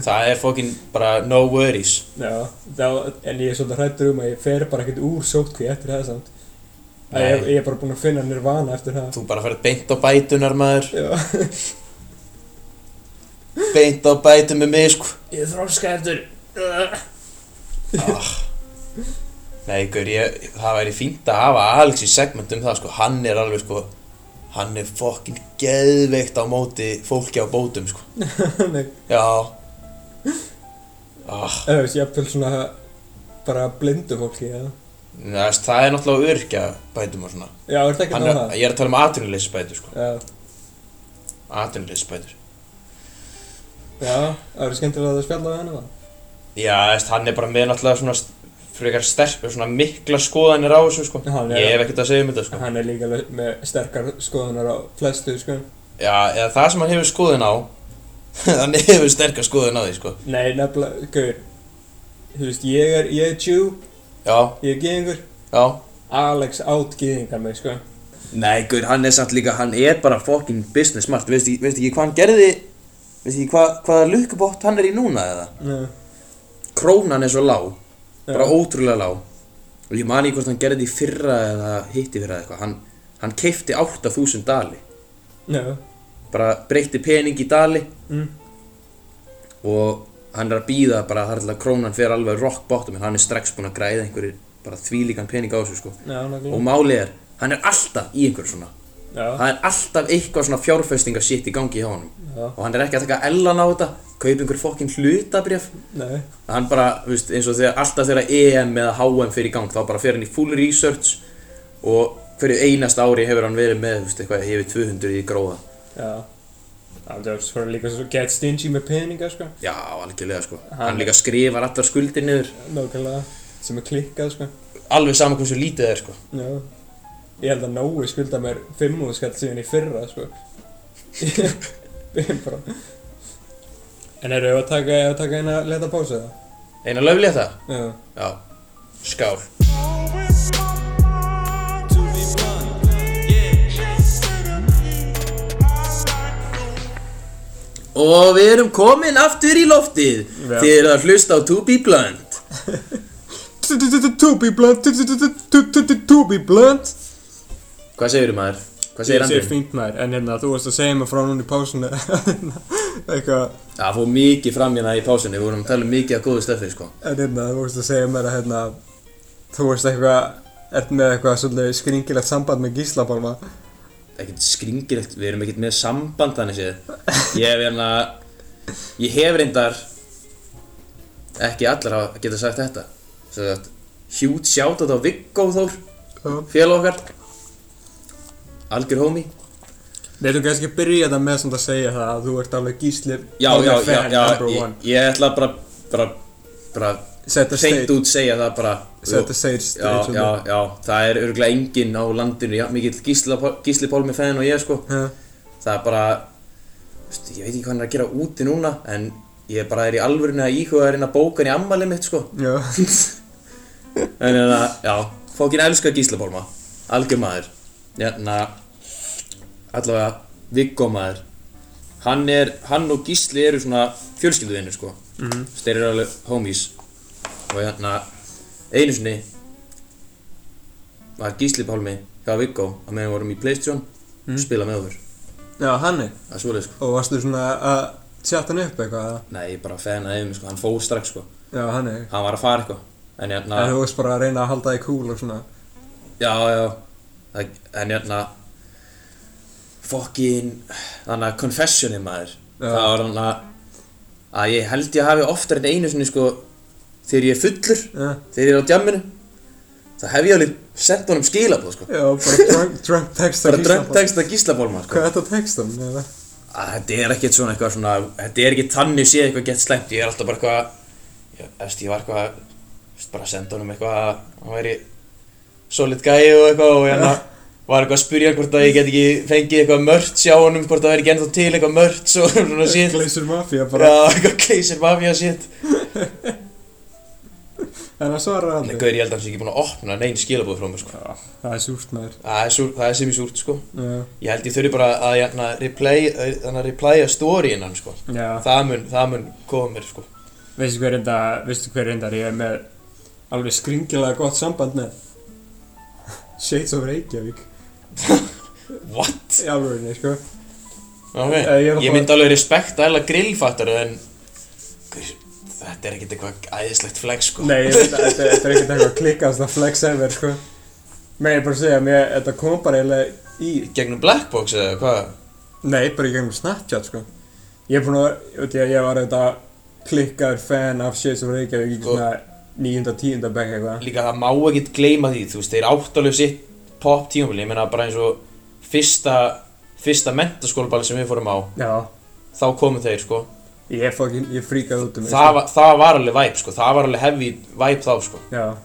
Það er fokkin bara no worries Já, þá, en ég er svolítið hrættur um að ég fer bara ekkert úr sótkví eftir það samt að ég, Nei. ég er bara búinn að finna nirvana eftir það Þú bara ferð beint á bætunar maður Já, Beint á bætun með mig sko ég þróska eftir ah. Nei ykkur, ég, það væri fínt að hafa Alex í segment um það sko Hann er alveg sko Hann er fokkin geðveikt á móti fólki á bótum sko Nei, Já ah. eða veist, ég er fyrir svona bara blindu fólki eða Næst, Það er náttúrulega örkja bætum og svona Já, er þetta ekki Hann er, náða það? Ég er að tala um atvinnuleysi bætur sko Já, Atvinnuleysi bætur já, það er skemmtilega að spjalla við henni það Já, veist, hann er bara með náttúrulega svona st- frekar sterk, svona mikla skoðanir á þessu, sko. Hann er- Ég hef ekkert að segja um þetta, sko. Hann er líka alveg með sterkar skoðunar á flestu, sko. Já, eða það sem hann hefur skoðun á, hann hefur sterkar skoðun á því, sko. Nei, nefnilega, gaur, þú veist, ég er, ég er tjú, Já, ég er geðingur, já. Alex átt geðingar mig, sko. Nei, guður, hann er samt líka, hann er bara fucking business smart. Veist ekki, veist ekki hvað hann gerði, veist ekki hvað, hvaða lukkubótt hann er í núna, eða? Nei, Krónan er svo lág, bara ótrúlega lág. og ég mani hvort hann gerði því fyrra eða hitti fyrra eða eitthvað hann, hann keipti 8000 dali Já, bara breytti pening í dali mm. og hann er að býða bara þar til að krónan fer alveg rock bottom en hann er strax búinn að græða einhverjir bara þvílíkan pening á þessu sko já, og nákvæmlega málið er, hann er alltaf í einhverju svona Já, það er alltaf eitthvað svona fjárfestinga shit í gangi hjá honum já, og hann er ekki að taka ellan á þetta kaupa einhver fokkin hlutabrjaf nei, hann bara, þú veist, eins og þegar alltaf þegar EM eða HM fyrir í gang þá bara fer hann í full research og hverju einast ári hefur hann verið með, þú veist, eitthvað yfir 200 í gróða já Það er svo líka svo get stingy með peninga, sko já, algjörlega, sko Hann- hann líka skrifar allar skuldir niður Nákvæmlega, sem er klikkað, sko alveg saman hversu lítið það er, sko Já Ég held að Nói skulda mér fimm og skall síðan í fyrra, sko Ég er bara En eru við að taka, eigum við að taka eina leta pása það? eina löflið það, Já já, skál og við erum komin aftur í loftið Já. þið eru að hlusta á To Be Blunt To be blunt, to be blunt hvað segirðu maður? hvað segir Ég sé Andri? fínt maður, en hérna, þú varst að segja mér frá núna í pásunni Eitthvað, Það fór mikið fram hérna í pásunni, við vorum að tala um mikið af góðu stöfið sko en hérna, þú varst að segja mér að hérna Þú varst eitthvað, ert með eitthvað svolítið skringilegt samband með Gísla Pálma Ekkert skringilegt, við erum ekkert með samband þannig séð Ég hef hérna, ég hef reyndar ekki allar að geta sagt þetta Svo þetta, hjút sjátt á þetta á Viggó Þór, Já. félag okkar Algjör homie Við ætlum kannski að byrja þetta með svona að segja það að þú ert alveg gísli Já, alveg já, já, fan já, number ég, one. ég ætla bara, bara, bara Set the Seint stage- út segja það bara set the stage Já, straight to já, já, það er örgulega enginn á landinu, já, mikill Gísla, Gísli Pálmi fæðin og ég sko the- Já, það er bara veist, ég veit ekki hvað hann er að gera úti núna en ég bara er í alvörinu að íhuga að reyna að bóka hann í ammali mitt sko já, en það, já, fókin elska gíslabólma algjör maður hérna allavega Viggo maður hann er, hann og Gísli eru svona fjölskylduðinu sko mm -hmm. þeir eru alveg homies og hérna einu sinni var Gísli Pálmi hjá Viggo að meðan við vorum í Playstation spila með okkur já, hann er Það er svolítið sko Og varstu svona að tjáta hann upp eitthvað eða? Nei, ég bara fenaði um sko, hann fóð strax sko Já, hann er Hann var að fara eitthvað En hérna En þú varst bara að reyna að halda þig cool og svona Já, já Það- En hérna Fokkin Þannig að confessionið maður Já. Það var hann að Að ég held ég hafi oftar en einu sinni sko Þegar ég er fullur Já, Þegar ég er á djamminu Það hef ég alveg sent honum skilabóð sko já bara drunk, drunk text Bara dröngdægst að gíslabólma sko Hvað er þetta textum? eða? að þetta er ekkert svona eitthvað svona þetta er ekki tannig séð eitthvað gett slæmt ég er alltaf bara eitthvað ég, eftir, ég var eitthvað þú veist, bara að senda honum eitthvað að hann væri solid gæi og eitthvað og hérna var eitthvað að spyrja hvort að ég get ekki fengið eitthvað mörts hjá honum hvort að það væri ekki ennþá til eitthvað mörts og svona shit Glacier Mafia bara bara eitthvað kleysir mafja shit En það svarar en hann gauður ég held að hans ekki búin að opna neinn skilabóð frá mér sko Það er súrt maður það er, súr, það er sem í súrt sko Já, ég held ég þurfi bara að hérna replay, hérna, replaya storyin hann sko já það mun, það mun koma mér sko Veistu hver reynda, veistu hver reynda ég er með alveg skringilega gott samband með Shades of Reykjavík what? í alvörinni, sko Ok, Eh, ég er að ég fá- myndi alveg respekt að eða grillfattar en Guð, þetta er ekkert eitthvað æðislegt flex sko Nei, ég veit að þetta þetta er ekkert eitthvað klikkast að flex ever, sko Mér er bara að segja, mér, þetta kom bara eiginlega í Gegnum Blackbox eða hvað? Nei, bara í gegnum Snapchat, sko Ég er búin að, veit ég, ég var þetta klikkaður fan af Shades of Reykjavík í Sko. svona níunda, tíunda bekk eitthvað Líka það má ekkert gleyma því, þú veist, þeir áttalegu sitt pop tímabili, ég meina bara eins og fyrsta, fyrsta mentaskólaball sem við fórum á, Já, þá komu þeir sko ég fokkin, ég fríkaði út um mig, það, var, það var alveg væp sko, það var alveg heavy væp þá sko Já,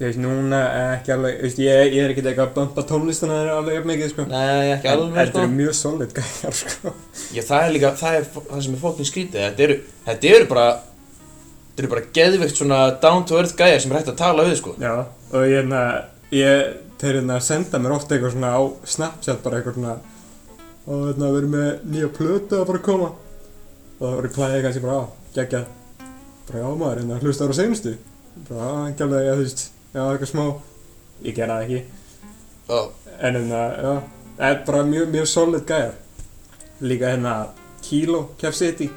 ég veist núna er ekki alveg, þú veist, ég, ég er ekki eitthvað að bömpa tónlistina þeirra alveg jafn mikið, sko. Nei, ekki En alveg þetta sko eru mjög solid gæjar, sko. Já, það er líka, það er fó- það sem er fokkin skrítið, þetta eru, þetta eru bara, þetta eru bara geðvikt svona down to earth gæjar sem er hægt að tala við, sko. Já, og ég hérna, ég, þeir hérna senda mér oft eitthvað svona á Snapchat bara eitthvað svona, og hérna við erum með nýja plötu að bara koma. Og það var í plæði kannski bara, á, geggja, bara já maður, hérna hlusta á seinustu. Bara, á, ekki alveg, já, þú veist, já, eitthvað smá. ég gera það ekki Já. En hérna, já, það er bara mjög, mjög solid gæjar. Líka hérna, Kilo, Kef City.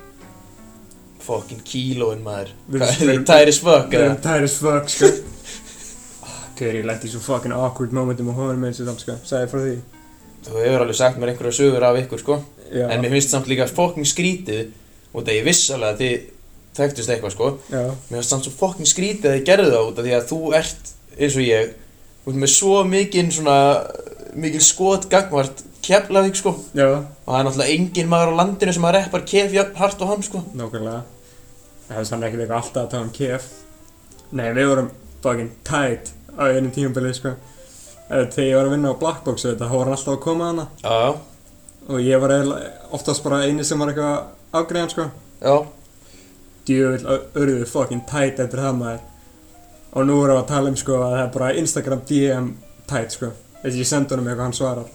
Fucking kílóin maður. Við Hvað er erum- þið tæri svökk They're eða? tired as fuck, sko. Gauður, Ah, ég lendi í svo fucking awkward momentum á hóðunum eins og þann, sko. Sæði frá því. Þú hefur alveg sagt mér einhverja sögur af ykkur sko. Já, En mér finnst samt líka fucking skrítið út af ég viss alveg að þið þekktust eitthvað sko. já, Mér finnst samt svo fucking skrítið að þið gerðu það út af því að þú ert eins og ég út með svo mikinn svona mikil skot gangvart keflavík sko og já, það er náttúrulega engin maður á landinu sem að reppar kef jafn hart og hann sko nákvæmlega. Það hefði sann ekki líka alltaf að tala um Kef. Nei, við vorum fucking tight á einum tímabilið, sko. Eh, Þegar ég var að vinna á Blackbox, þetta, þá var hann alltaf að koma hana. Já, Og ég var eiginlega oftast bara eini sem var eitthvað að afgreiða hann, sko. já, djöfull ö- urðu fucking tight eftir það maður og nú erum við að tala um sko að það er bara Instagram DM tight sko þess að ég sendi honum eitthvað hann svarar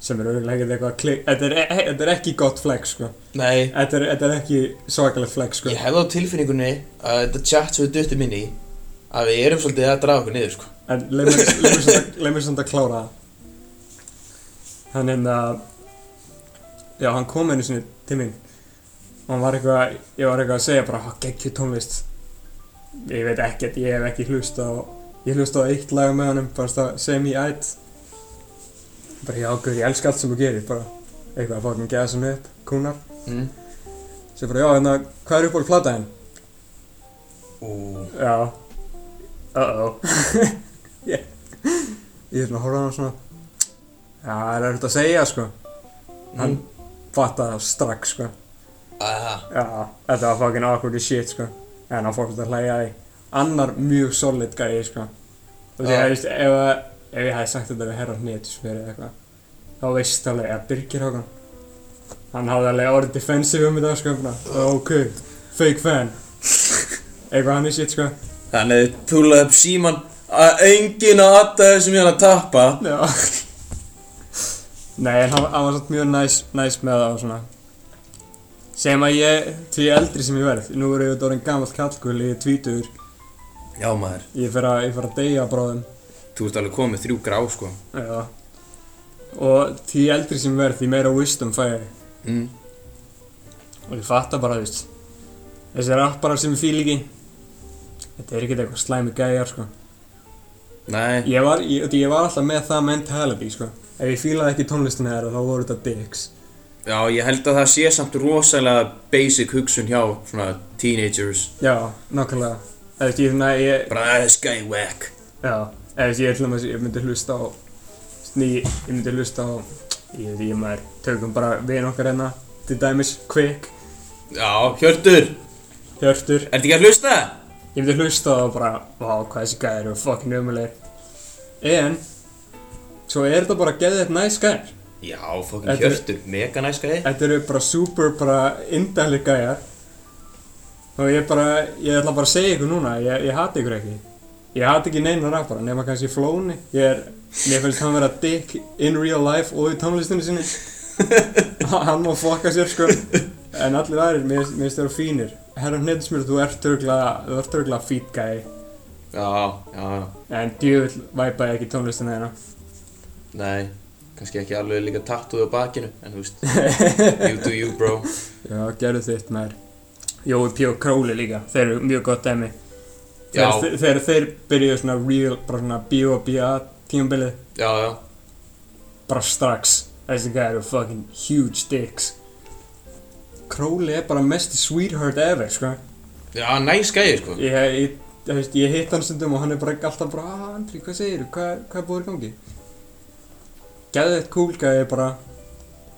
sem er auðvitað ekkert eitthvað klik þetta er, e- þetta er ekki gott flex sko nei þetta er, þetta er ekki svakalegt flex sko Ég hefði á tilfinningunni að þetta chat sem við duttum inn í að við erum svolítið að draga okkur niður sko en leið mér- leið mér samt að- leið mér samt að klára það hann en að já hann kom einu sinni til mín og hann var eitthvað ég var eitthvað að segja bara geggju tónlist ég veit ekkert ég hef ekki hlust á ég hlust á eitt lag með hann bara það sem ég ætt bara já guð ég elska allt sem þú gerir bara eitthvað að fókin geða sem upp kúnar mm. sem bara já hérna hvað er upp á plata henn Ú, Já Uh-oh Ég ég er svona að horfa á hann svona Já, það er erfitt að segja sko Hann Mm. fattaði það strax sko aha, Já, þetta var fucking awkward as shit sko En hann fór svolítið að hlæja að því Annar mjög solid gæi sko Þú veist, Já. ég veist, ef, að- ef ég hefði sagt þetta við herra hnýttisfyrir eða eitthvað Þá veist alveg að Birgir Hákan Hann hafði alveg orðið defensive um þetta sko bara, Ok, fake fan Eitthvað hann í shit sko Þannig að þið púlaði upp síman að enginn að atta þessum ég hann að tappa Já Nei, en hann, hann var samt mjög næs, næs með það og svona Sem að ég, því eldri sem ég verð Nú er ég auðvitað orðin gamall kallkul, ég er tvítur Já maður Ég fer að, ég fer að deyja bráðum Þú ert alveg komið þrjú grá sko Já Og því eldri sem ég verð, því meira wisdom fæ ég mm. Og ég fatta bara, þú veist Þessi rapparar sem ég fíl ekki Þetta er ekkert eitthvað slæmi gæjar, sko Nei Ég var, ég, ég var alltaf með það mentality, sko Ef ég fílaði ekki tónlistina þeirra, þá voru þetta dicks Já ég held að það sé samt rosalega basic hugsun hjá svona teenagers Já, nákvæmlega Eða ekki, þannig að ég, Bara að þessi gæi whack Já, eða þess að ég ætlum að ég myndi hlusta á sný, ég myndi hlusta á ég veit ég maður, tökum bara vin okkar hérna til dæmis, Quick, Já Hjörtur Hjörtur Ertu ekki að hlusta? ég myndi hlusta á og bara, vá, hvað þessi gæðir eru fucking umulegir en svo er þetta bara geðið eitt næs gæðir Já fokkin Þetta er- Hjörtur Mega næs gæi þetta eru bara super, bara indæli gæjar og ég bara ég ætla bara að segja ykkur núna, ég, ég hati ykkur ekki ég hati ekki neina rappara nema kannski Flóni, ég er mér finnst hann vera dick in real life og í tónlistinu sinni hann má fokka sér sko en allir aðrir, mér mér finnst það eru fínir herra hnettismjör, þú ert örgla þú ert örgla fít gæi Já Já en djöfull væpaði ekki tónlistina hérna Nei kannski ekki alveg líka tattúið á bakinu En þú veist You do you bro já, gerðu þitt maður Jói P. og Króli líka, þeir eru mjög gott dæmi Já. þegar, þegar þeir byrjuðu svona real, bara svona B.O.B.A. tímabilið, Já já bara strax þessi gæði eru fucking huge dicks Króli er bara mest sweetheart ever, sko Já næs gæi sko ég, ég, ég, veist, ég hitt hann stundum og hann er bara alltaf bara, ah, Andri, hvað segirðu, hvað, hvað er búið í gangi gæði þetta cool gæði bara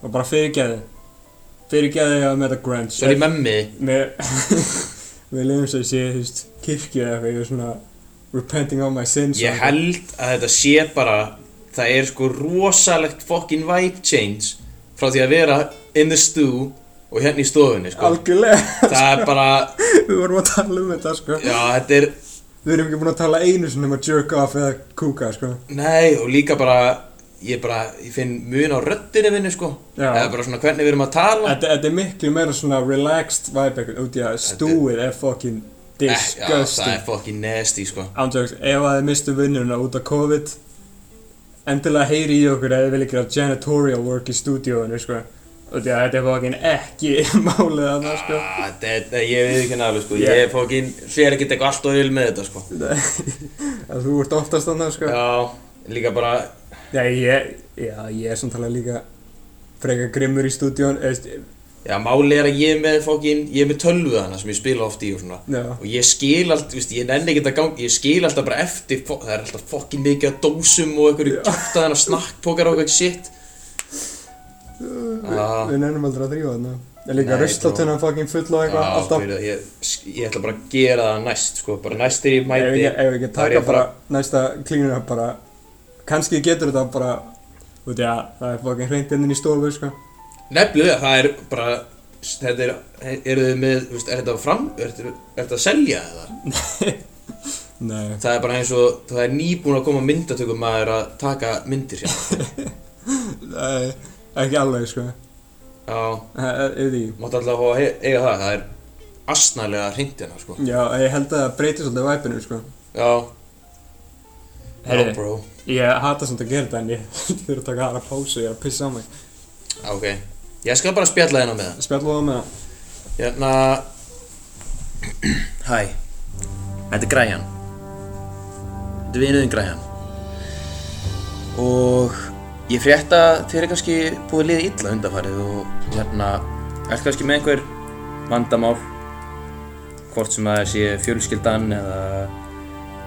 og bara fyrirgæði fyrirgæði að með þetta grunge Sorry memmi Mér Mér leiðum svo að sé, þú veist, kirkju eða eitthvað, ég er svona Repenting of my sins sko. Ég held að þetta sé bara Það er sko rosalegt fucking vibe change Frá því að vera in the stew Og hérna í stofunni sko Algjörlega, Það er bara við vorum að tala um þetta, sko Já þetta er Við erum ekki búin að tala einu sinni um að jerk off eða kúka, sko Nei og líka bara Ég bara Ég finn mun á röddinni minni sko Já. Það er bara svona hvernig við erum að tala Þetta þetta er miklu meira svona relaxed vibe eitthvað út í að stúið er fucking Eh, já, það Disgusting er fucking nasty sko Ándjóks, ef að þið mistu vinnuna út af COVID Endilega heyri í okkur eða þið vil ekki gera janitorial work í stúdíóinu, sko Og því að þetta er fokkin ekki málið að það, sko Ah, þetta, ég veit ekki alveg sko, Yeah. ég fokkin fer ekki eitthvað allt og yfir með þetta sko Nei, þú ert oftast annað, sko Já, líka bara, Nei, ég, já, ég er samtalað líka frekar grimmur í stúdíón, eða, veist, já máli er að ég er með fokkin, ég er með tölvu hana sem ég spila oft í og svona já, Og ég skil allt, viðst, ég nenni ekki þetta gangi, ég skil alltaf bara eftir, fo- það er alltaf fokkin mikið að dósum og einhverju kjaftaðan og snakkpokar og eitthvað shit Ah, Já. við nefnum aldrei að drífa þarna. Ég líka Nei, ruslatunna fucking full og eitthvað, Já, alltaf. fyrir, ég, ég ætla bara að gera það næst sko, bara næst þegar ég Ef mæti ég- ef ég ekki þá er taka ég að bara fara- næsta klínuna bara, kannski getur þetta bara, út í að það er fucking hreint inn í stofu, sko. Nefnilega, það er bara Þetta er, eru þið með, þú veist, er þetta fram, er, er þetta að selja eða? Nei, Það er bara eins og, það er nýbúin að koma myndatökum maður að taka myndir sér nei, ekki alveg, sko. Já, Eða því, máttu alltaf að fá að he- eiga það, það er asnalega hreindina, sko já, ég held að það breytir svolítið væpinu, sko. Já, Heyrðu. já, bro, Ég hata samt að gera þetta en ég þurfa að taka aðra pásu, ég er að pissa á mig. já, ok Ég skal bara spjalla hérna með það Spjallu á með það. Hérna Hæ Þetta er Græjan Þetta er vinuðin Græjan Og ég frétta að þér er kannski búið að liða illa undanfarið og hérna er kannski með einhver vandamál hvort sem að það sé fjölskyldan eða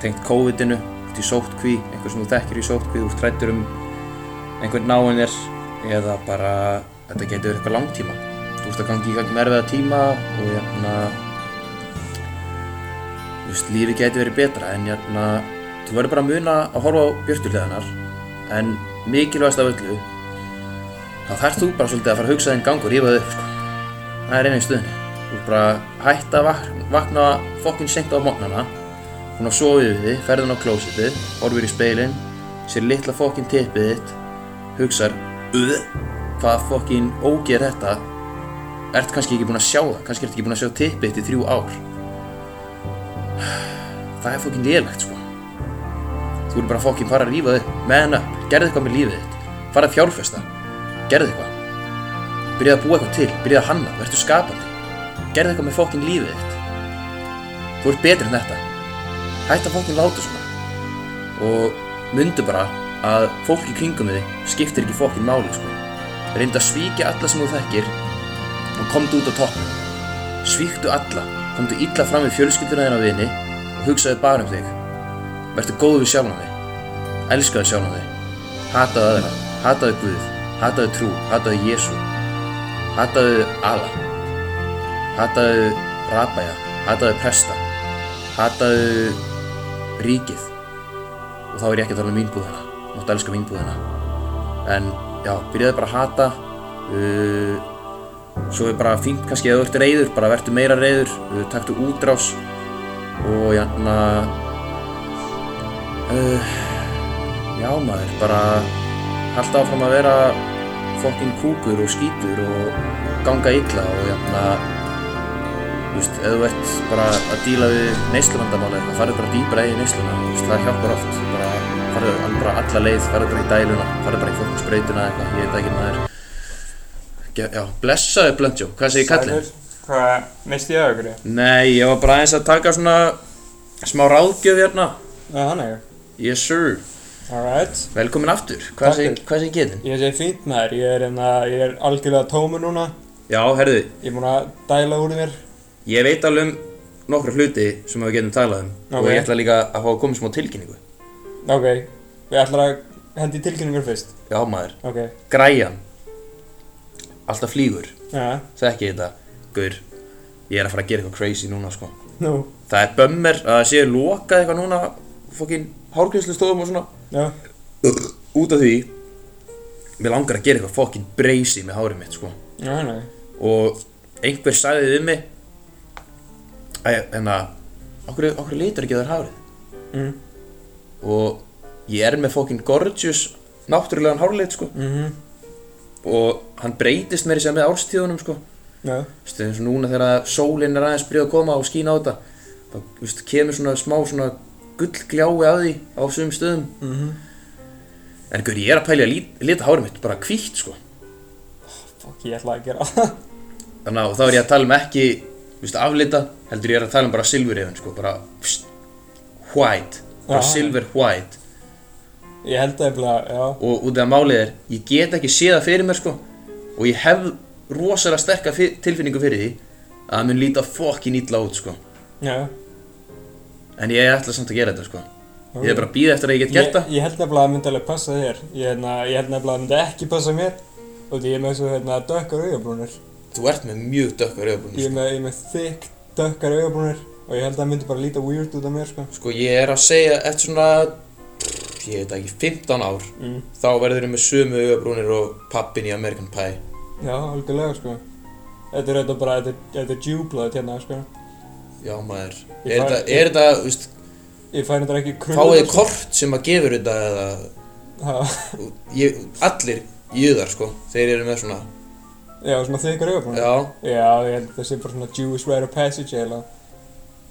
tengt COVID-inu út í sóttkví, einhver sem þú þekkir í sóttkví úr trættur um einhvern náinn þér eða bara þetta getur verið eitthvað langtíma þú ert að gangi í gang með erfiða tíma og jæna þú veist, lífi getur verið betra en jæna þú verður bara að muna að horfa á björtuleganar en mikilvægast af öllu þá þarft þú bara svolítið að fara að hugsa þinn gang og rífa þau upp sko. það er eina í stöðunni þú ert bara að hætta að vakna, vakna fokkin sent á mótnana hún að sofa yfir þið, ferðin á klósitið horfir í speilin, sér litla fokkin tippið þitt hugsar "Ugh, hvað fokkin ógeð er þetta ert kannski ekki búin að sjá það kannski ert ekki búin að sjá tippið þitt í þrjú ár það er fokkin lélegt sko þú eru bara fokkin fara að rífa þig meðan upp, gerðu eitthvað með lífið þitt fara að fjárfesta, gerðu eitthvað byrjaðu að búa eitthvað til, byrjaðu að hanna verður skapandi, gerðu eitthvað með fokkin lífið þitt þú ert betri en þetta hætt að fokkin láta svona og myndu bara að fólk í kringum þig skiptir ekki fokkin máli sko. reyndu að svíkja alla sem þú þekkir og komdu út á toppnum svíktu alla, komdu illa fram við fjölskylduna þína vini og hugsaðu bara um þig verðu góð við sjálfan þig elskaðu sjálfan þig hataðu aðra, hataðu Guð hataðu trú, hataðu Jésu hataðu Allah hataðu rabæja hataðu presta hataðu ríkið og þá er ég ekki að tala um vínbúðina máttu elska vínbúðina en já, byrjaði bara að hata uh, svo er bara fínt kannski að þú ert reyður bara verður meira reyður, uh, taktu útrás og jæna uh, já maður bara halda áfram að vera fokkin kúkur og skítur og ganga illa og jæna Þú veist, ef þú ert bara að díla við neysluvandamáli þá farið bara dýbra í neysluna þú veist, það hjálpar oft bara farið al- bara alla leið, farið bara í dæluna farið bara í fólkum sprautuna eða eitthvað, ég veit ekki maður Ge- já, blessaðu Blöndjó, hvað segir kallinn? Hvað, misti ég auðvitað? Nei, ég var bara aðeins að taka svona smá ráðgjöf hérna Já, hann er. Yes sir, Alright. velkomin aftur, hvað Takk segir fyrir. hvað segir getinn? Ég segi fínt maður, ég er, enna, ég er algjörlega tómur núna. Já, herðu, Ég er búinn að dæla úr mér. ég veit alveg um nokkra hluti sem við getum talað um Ok. og ég ætla líka að fá að koma í smá tilkynningu Ok, við ætlum að hendi tilkynningur fyrst. Já maður, Ok, græjan Alltaf flýgur já, Þekki ég þetta Gaur Ég er að fara að gera eitthvað crazy núna sko nú, Það er bömmir að það séu lokað eitthvað núna Fokkin hárgreyslustofum og svona já, Út af því Mér langar að gera eitthvað fokkin breysi með hárið mitt sko já, hann er. Og einhver sagði við mig Æ, hérna Okkur, okkur litur ekki þar hárið Mm, Og ég er með fokkin gorgeous Náttúrulegan hárleit sko mhm, Og hann breytist mér í sem með árstíðunum sko já, Þú veist, eins og núna þegar að sólin er aðeins byrjuð að koma og skína á þetta þá veist, kemur svona smá svona gullgljáu að því á sumum stöðum mm -hmm. en gaur, ég er að pælja að lít- lita hárið mitt bara hvítt sko Fuck, ég ætlaði að gera það þannig að og þá er ég að tala um ekki veist, aflita, heldur ég er að tala um bara silver even sko, bara pst, white, bara Já. silver white Ég held að ég já og út af að málið er, ég get ekki séð það fyrir mér sko og ég hef rosalega sterka fyr, tilfinningu fyrir því að það mun líta fokkin illa út sko Já, já en ég ætla samt að gera þetta sko ég er bara að býða eftir að ég get gert það Ég, ég held nefnilega að myndi alveg passa þér. Ég, hérna, ég held nefnilega að myndi ekki passa mér. Og því ég er með svo hérna dökkar augabrúnir. þú ert með mjög sko. dökkar Ég er auðvunni með, ég er með þykk dökkar augabrúnir. Og ég held að það myndi bara líta weird út af mér, sko. sko ég er að segja eftir svona ég veit það ekki 15 ár Mm. þá verður ég með sömu auðabrúnir og pappin í American Pie Já, algjörlega, sko. Þetta er þetta bara, þetta er- þetta er djúblaðið hérna, sko. já maður Ég er fæ- þetta, er þetta, þú veist, Ég fær þetta ekki fáið þið krullur. kort sem að gefur þetta eða ég, allir jöðar sko þeir eru með svona Já, svona þykkar augabrúnir. já Já, ég held að það sé bara svona Jewish rite of passage eiginlega.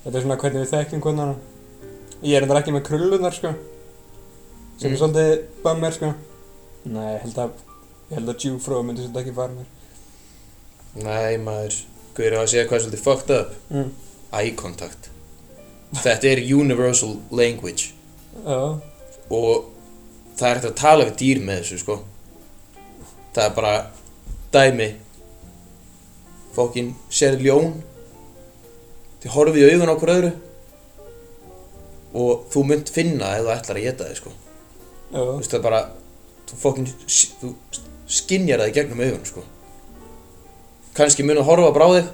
Þetta er svona hvernig við þekkjum hvernig hana. Ég er endur ekki með krullunar, sko. Sem Mm. er svolítið bummer, sko. Nei, ég held að, ég held að Jewfrú myndi svolítið ekki fara mér. Nei maður, Guður á að segja hvað er svolítið fucked up Mm. Eye contact Þetta er universal language Já, Og það er hægt að tala við dýr með þessu sko Það er bara dæmi Fokkin sér ljón Þið horfið í augun á hver öðru Og þú munt finna ef þú ætlar að geta þið sko já, Þú veist það er bara Þú fokkin, þú skinjar það í gegnum augun sko Kanski mun að horfa bara á þig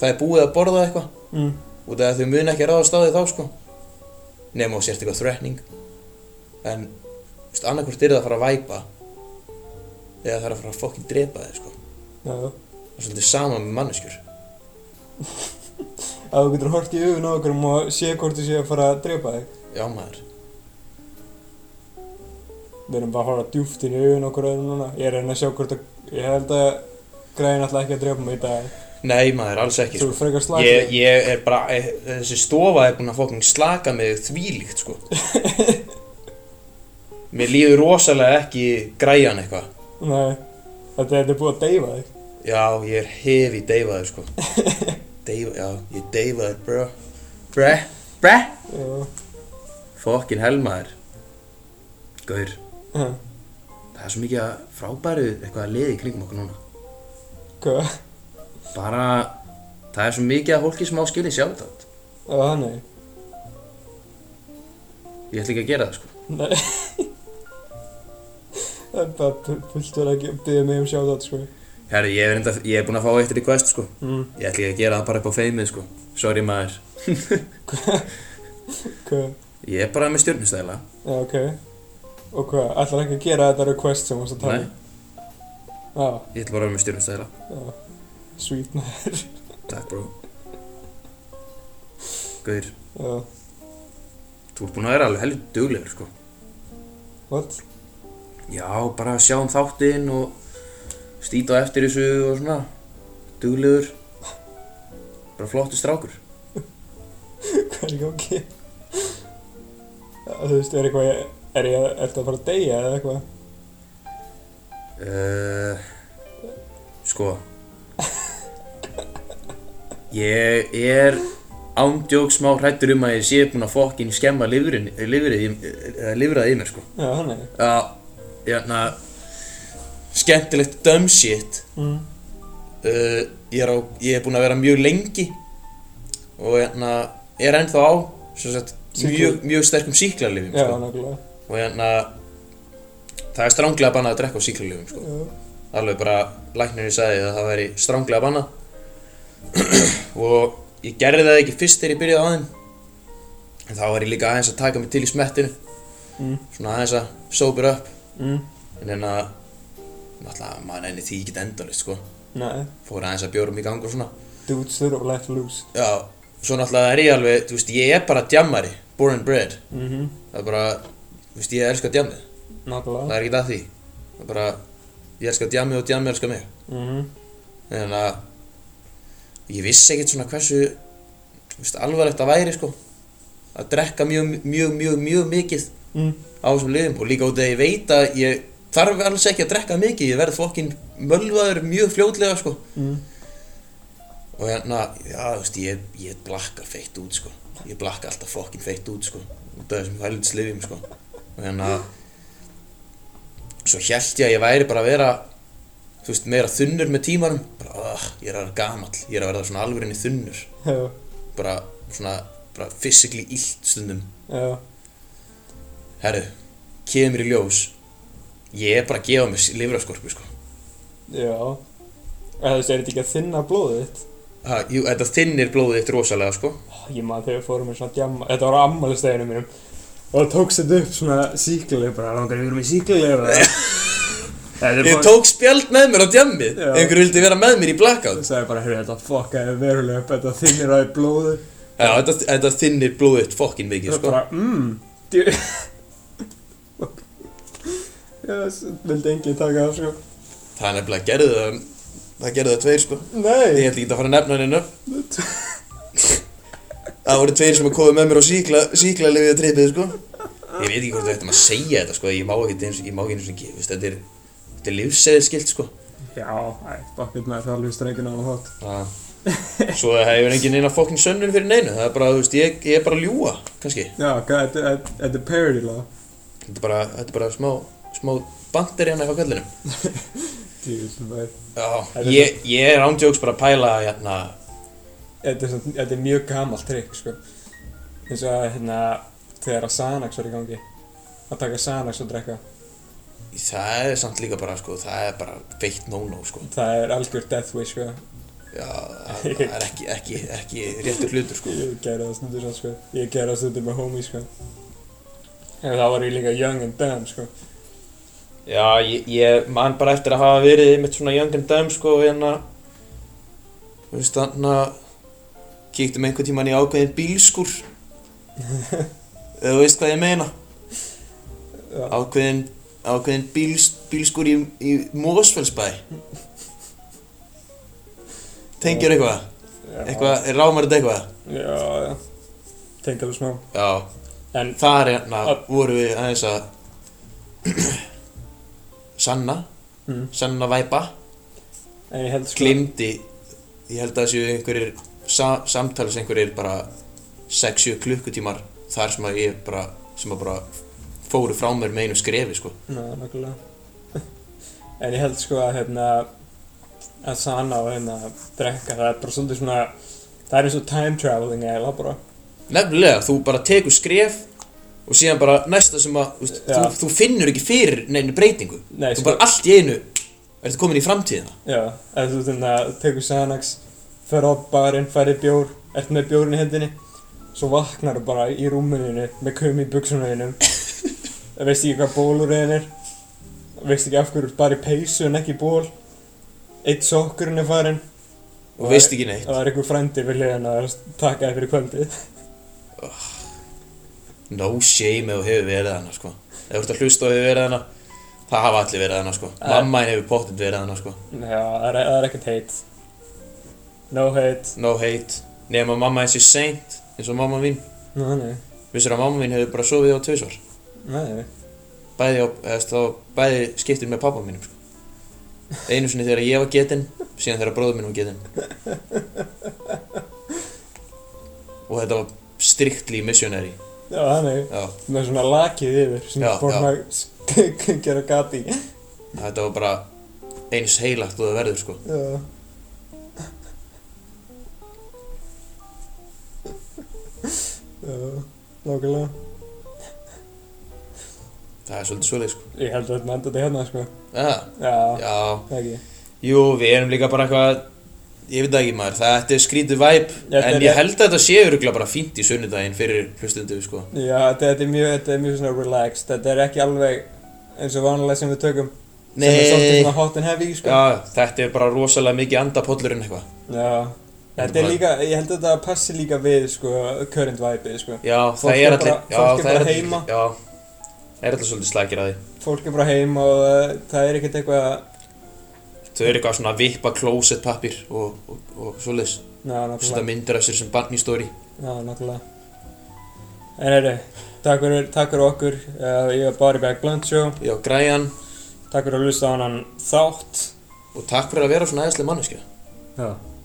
Það er búið að borða eitthvað mm. út af að þau muna ekki ráðast á því þá sko nema og sért eitthvað threatening en veist, annarkvort er það að fara að væpa eða það er að fara að fokkin drepa þig sko já. það er svolítið sama með manneskjur Ef þú getur hort í augun á okkur og sé hvort þú sé að fara að drepa þig. já maður Við erum bara að horfa djúft inn í augun á okkur öðrum núna. Ég er að reyna að sjá hvort að, ég held að græðin alltaf ekki að drepa mig í dag. nei maður alls ekki Þú sko. er frekar slakið. ég, ég er bara ég, þessi stofa er búin að fokkin slaka mig þvílíkt sko mér líður rosalega ekki græjan eitthvað Nei, þetta, þetta er búið að deyfa þig. já ég er hefi deyfaður sko Deyfa, já ég er deyfaður bro bre bre Já. Fokkin helmaður Gaur, Já. það er svo mikið að frábæru eitthvað að liði í kringum okkur núna Hvað? Bara, það er svo mikið að fólki sem á skilið sjá þetta Já, þannig. Ég ætla ekki að gera það sko Nei. Það er bara fu- fullt verið að ge- biðja mig um shoutout, sko. Herri, ég er, enda, ég er búin að fá eitt request sko Mm. Ég ætla ekki að gera það bara upp á feimið sko Sorry maður Hvað? Ég er bara með stjórnustæla Já, ok. Og hvað? Ætlar ekki að gera þetta request sem þú varst að tala? um? Nei, Já, ég ætla bara að vera með stjórnustæla já. Sweet maður. Takk bró Gaur, Já. þú ert búin að vera alveg helvið duglegur sko What? Já, bara að sjá um þáttinn og stýta á eftir þessu og svona duglegur bara flottu strákur Hvað er í gangi? Já, Þú veist, er eitthvað ég... Er ég að... Ertu að fara að deyja eða eitthvað? uh, Sko Ég er ándjók smá hrættur um að ég sé búinn að fokkin skemma lifrin, lifrið, í- eða lifrað í mér sko Já, þannig. Já, jæna skemmtilegt dumb shit Mm. uh, ég, er á, ég er búinn að vera mjög lengi og hérna er ennþá á sem sagt, Sýkla- mjög, mjög sterkum síklarlifjum Já, sko. nokkulega. og hérna það er stránglega bannað að drekka á síklarlifjum sko. Já. alveg bara læknirinn sagði að það væri stránglega bannað og ég gerði það ekki fyrst þegar ég byrjaði á þeim en þá var ég líka aðeins að taka mig til í smettinu Mm. svona aðeins að sober up Mm. en hérna náttúrulega maður enni því ekki endalist sko Nei. fór aðeins að bjórum í gang og svona Dudes þurfa að let loose. Já, svo náttúrulega er ég alveg, þú veist, ég er bara djammari, born and bred Mhm. Það er bara, þú veist, ég elska djammið, það Nákvæmlega. er ekkert að því Það er bara, ég elska djammið og djammið elska mig Mhm. Þannig að, ég vissi ekkert svona hversu, veist, alvarlegt að væri sko að drekka mjög, mjög, mjög, mjög mikið mm. á þessum liðum og líka út að ég veit að ég þarf alls ekki að drekka mikið, ég verð fokkin mölvaður mjög fljótlega sko Mm. og hérna, já, þú veist, ég, ég blakka feitt út sko, ég blakka alltaf fokkin feitt út sko, út af þessum helvits lifjum sko og hérna svo held ég að ég væri bara að vera þú veist, meira þunnur með tímanum bara, uh, ég er að vera gamall, ég er að verða svona alvörinni þunnur Já, bara svona, bara physically illt stundum já, herru, kemur í ljós ég er bara að gefa mér lifraskorpu sko. já. Eða þú veist, er þetta ekki að þinna blóðið þitt? ha, jú, þetta þinnir blóðið þitt rosalega sko. Ó, Ég maður þegar við fórum í svona djamma, þetta var á ammælisteginu mínum og það tókst þetta upp svona síkileg bara, langar við erum í síkileg eða Þetta er ég bara- tók spjald með mér á djammi Já. einhver vildi vera með mér í blackout Það sagði bara, heyrðu, þetta fokkaði verulega upp, þetta þinnir á í blóðu já, þetta, þetta þinnir blóðið þitt fokkin Það mikið er sko. bara, mmm, djú Já, þessu vildi enginn taka af, sko það er nefnilega gerði það það gerði það tveir sko. ég Nei held ekki að fara að nefna henni nöfn það voru tveir sem komið með mér á síkla síkla lifið að trippið sko. ég veit ekki hvort þetta maður segja þetta sko. ég má ekki eins ég má ekki eins og ekki þetta er, þetta er lífseðiskilt sko. Já, æ, bakkvöld með það er alveg strengin á hann hótt Já. Svo það hefur enginn eina fokkin sönnun fyrir neinu, það er bara, þú veist, ég, ég er bara að ljúa, kannski. Já, hvað, þetta þetta- þetta er parody lag Þetta er bara, þetta er bara smá, smá bandir hérna eitthvað köllinum. Djú, sem er Já, Þetta er- ég, ég er ándjóks bara að pæla, hérna, þetta er, svona, þetta er mjög gamalt trikk sko. eins og að, hérna, þegar að Sanax var í gangi að taka Sanax og drekka það er samt líka bara, sko, það er bara veitt no-no, sko. það er algjör death wish sko. Já, það það er ekki, ekki, ekki réttur hlutur, sko. ég gera það stundur svo, sko. ég gera það stundur með homie sko. en það var ég líka young and dumb sko. Já, ég, ég man bara eftir að hafa verið mitt svona young and dumb, sko, hérna, þú veist, þannig að kíktum einhvern tíman í ákveðin bílskur, ef þú veist hvað ég meina. Já. ákveðin, ákveðin bíls, bílskur í, í Mósfellsbæ Tengjur eitthvað? Já. Eitthvað, rámar þetta eitthvað? já, já tengt alveg smá Já, en þar hérna Að- voru við aðeins að Sanna, mm, Sanna Væpa en ég held sko glimti, ég held að það séu einhverjir sa, samtals einhverjir bara 6-7 klukkutímar þar sem að ég bara, sem að bara fóru frá mér með einu skrefi sko Ná, nokkulega En ég held sko að hérna að sana og hérna drekka það er bara svolítið svona það er eins og time traveling eða bara Nefnilega, þú bara tekur skref og síðan bara næsta sem að þú, veist, Já. þú, þú finnur ekki fyrir neinu breytingu Nei, Þú sko- bara allt í einu ertu komin í framtíðina já, eða þú hérna tekur Xanax fer á barinn, færi bjór ert með bjórinn í hendinni svo vaknar bara í rúminu með kum í buksunum veist ekki hvað bólur þeim er veist ekki af hverju þú ert bara í peysu en ekki í ból eitt sokkurinn er farinn og veist ekki neitt og það er einhver frændi við hliðina að taka þér fyrir kvöldið No shame ef þú hefur verið hana sko Ef þú ert að hlusta og hefur verið hana Það hafa allir verið hana sko Nei. Mamma henni hefur pottinn verið hana sko Já, það er, það er ekkert heit No hate No hate Nefn að mamma henni sé seint eins og mamma mín Nú, nei, Vissir að mamma mín hefur bara sofið á tvisvar nei Bæði, á, eða, þú veist, þá, bæði skiptir með pappa mínum sko Einu sinni þegar ég var getinn síðan þegar bróður minn var getinn og þetta var strictly missionary Já, þannig já, Með svona lakið yfir sem Já, er fór já. að sk- sk- gera gati Já, þetta var bara eins heilagt og það verður sko já Nákvæmlega það er svolítið svolítið sko Ég held að þetta enda þetta hérna, sko ja, Já, já, það ekki jú, við erum líka bara eitthvað ég veit það ekki maður, þetta er skrítið væp Þetta er en rétt. ég held að þetta sé öruglega bara fínt í sunnudaginn fyrir hlustundu sko Já, þetta, þetta er mjög, þetta er mjög svona relaxed Þetta er ekki alveg eins og vanalega sem við tökum Sem er svolítið Nei, svona hot and heavy, sko já, þetta er bara rosalega mikið andapollur en eitthvað Já, þetta er líka, ég held að þetta passi líka við, sko, current vibe-ið, sko. Já, Fólk er það er bara- allir já, fólk er það bara allir- heima. Já, það er allir svolítið slækir að því Fólk er bara heim og uh, það er ekkert eitthvað, Þau eru eitthvað svona að vippa klósettpappir og, og, og svoleiðis ná, Setta náttúrulega, myndir af sér sem barn í stóri Já, nákvæmlega. En heyrðu, takk fyrir, takk fyrir okkur. Uh, ég er Bari Bæk Blunt Show. Já, græjan Takk fyrir að hlusta á hann þátt. og takk fyrir að vera svona æðislega manneskja Já.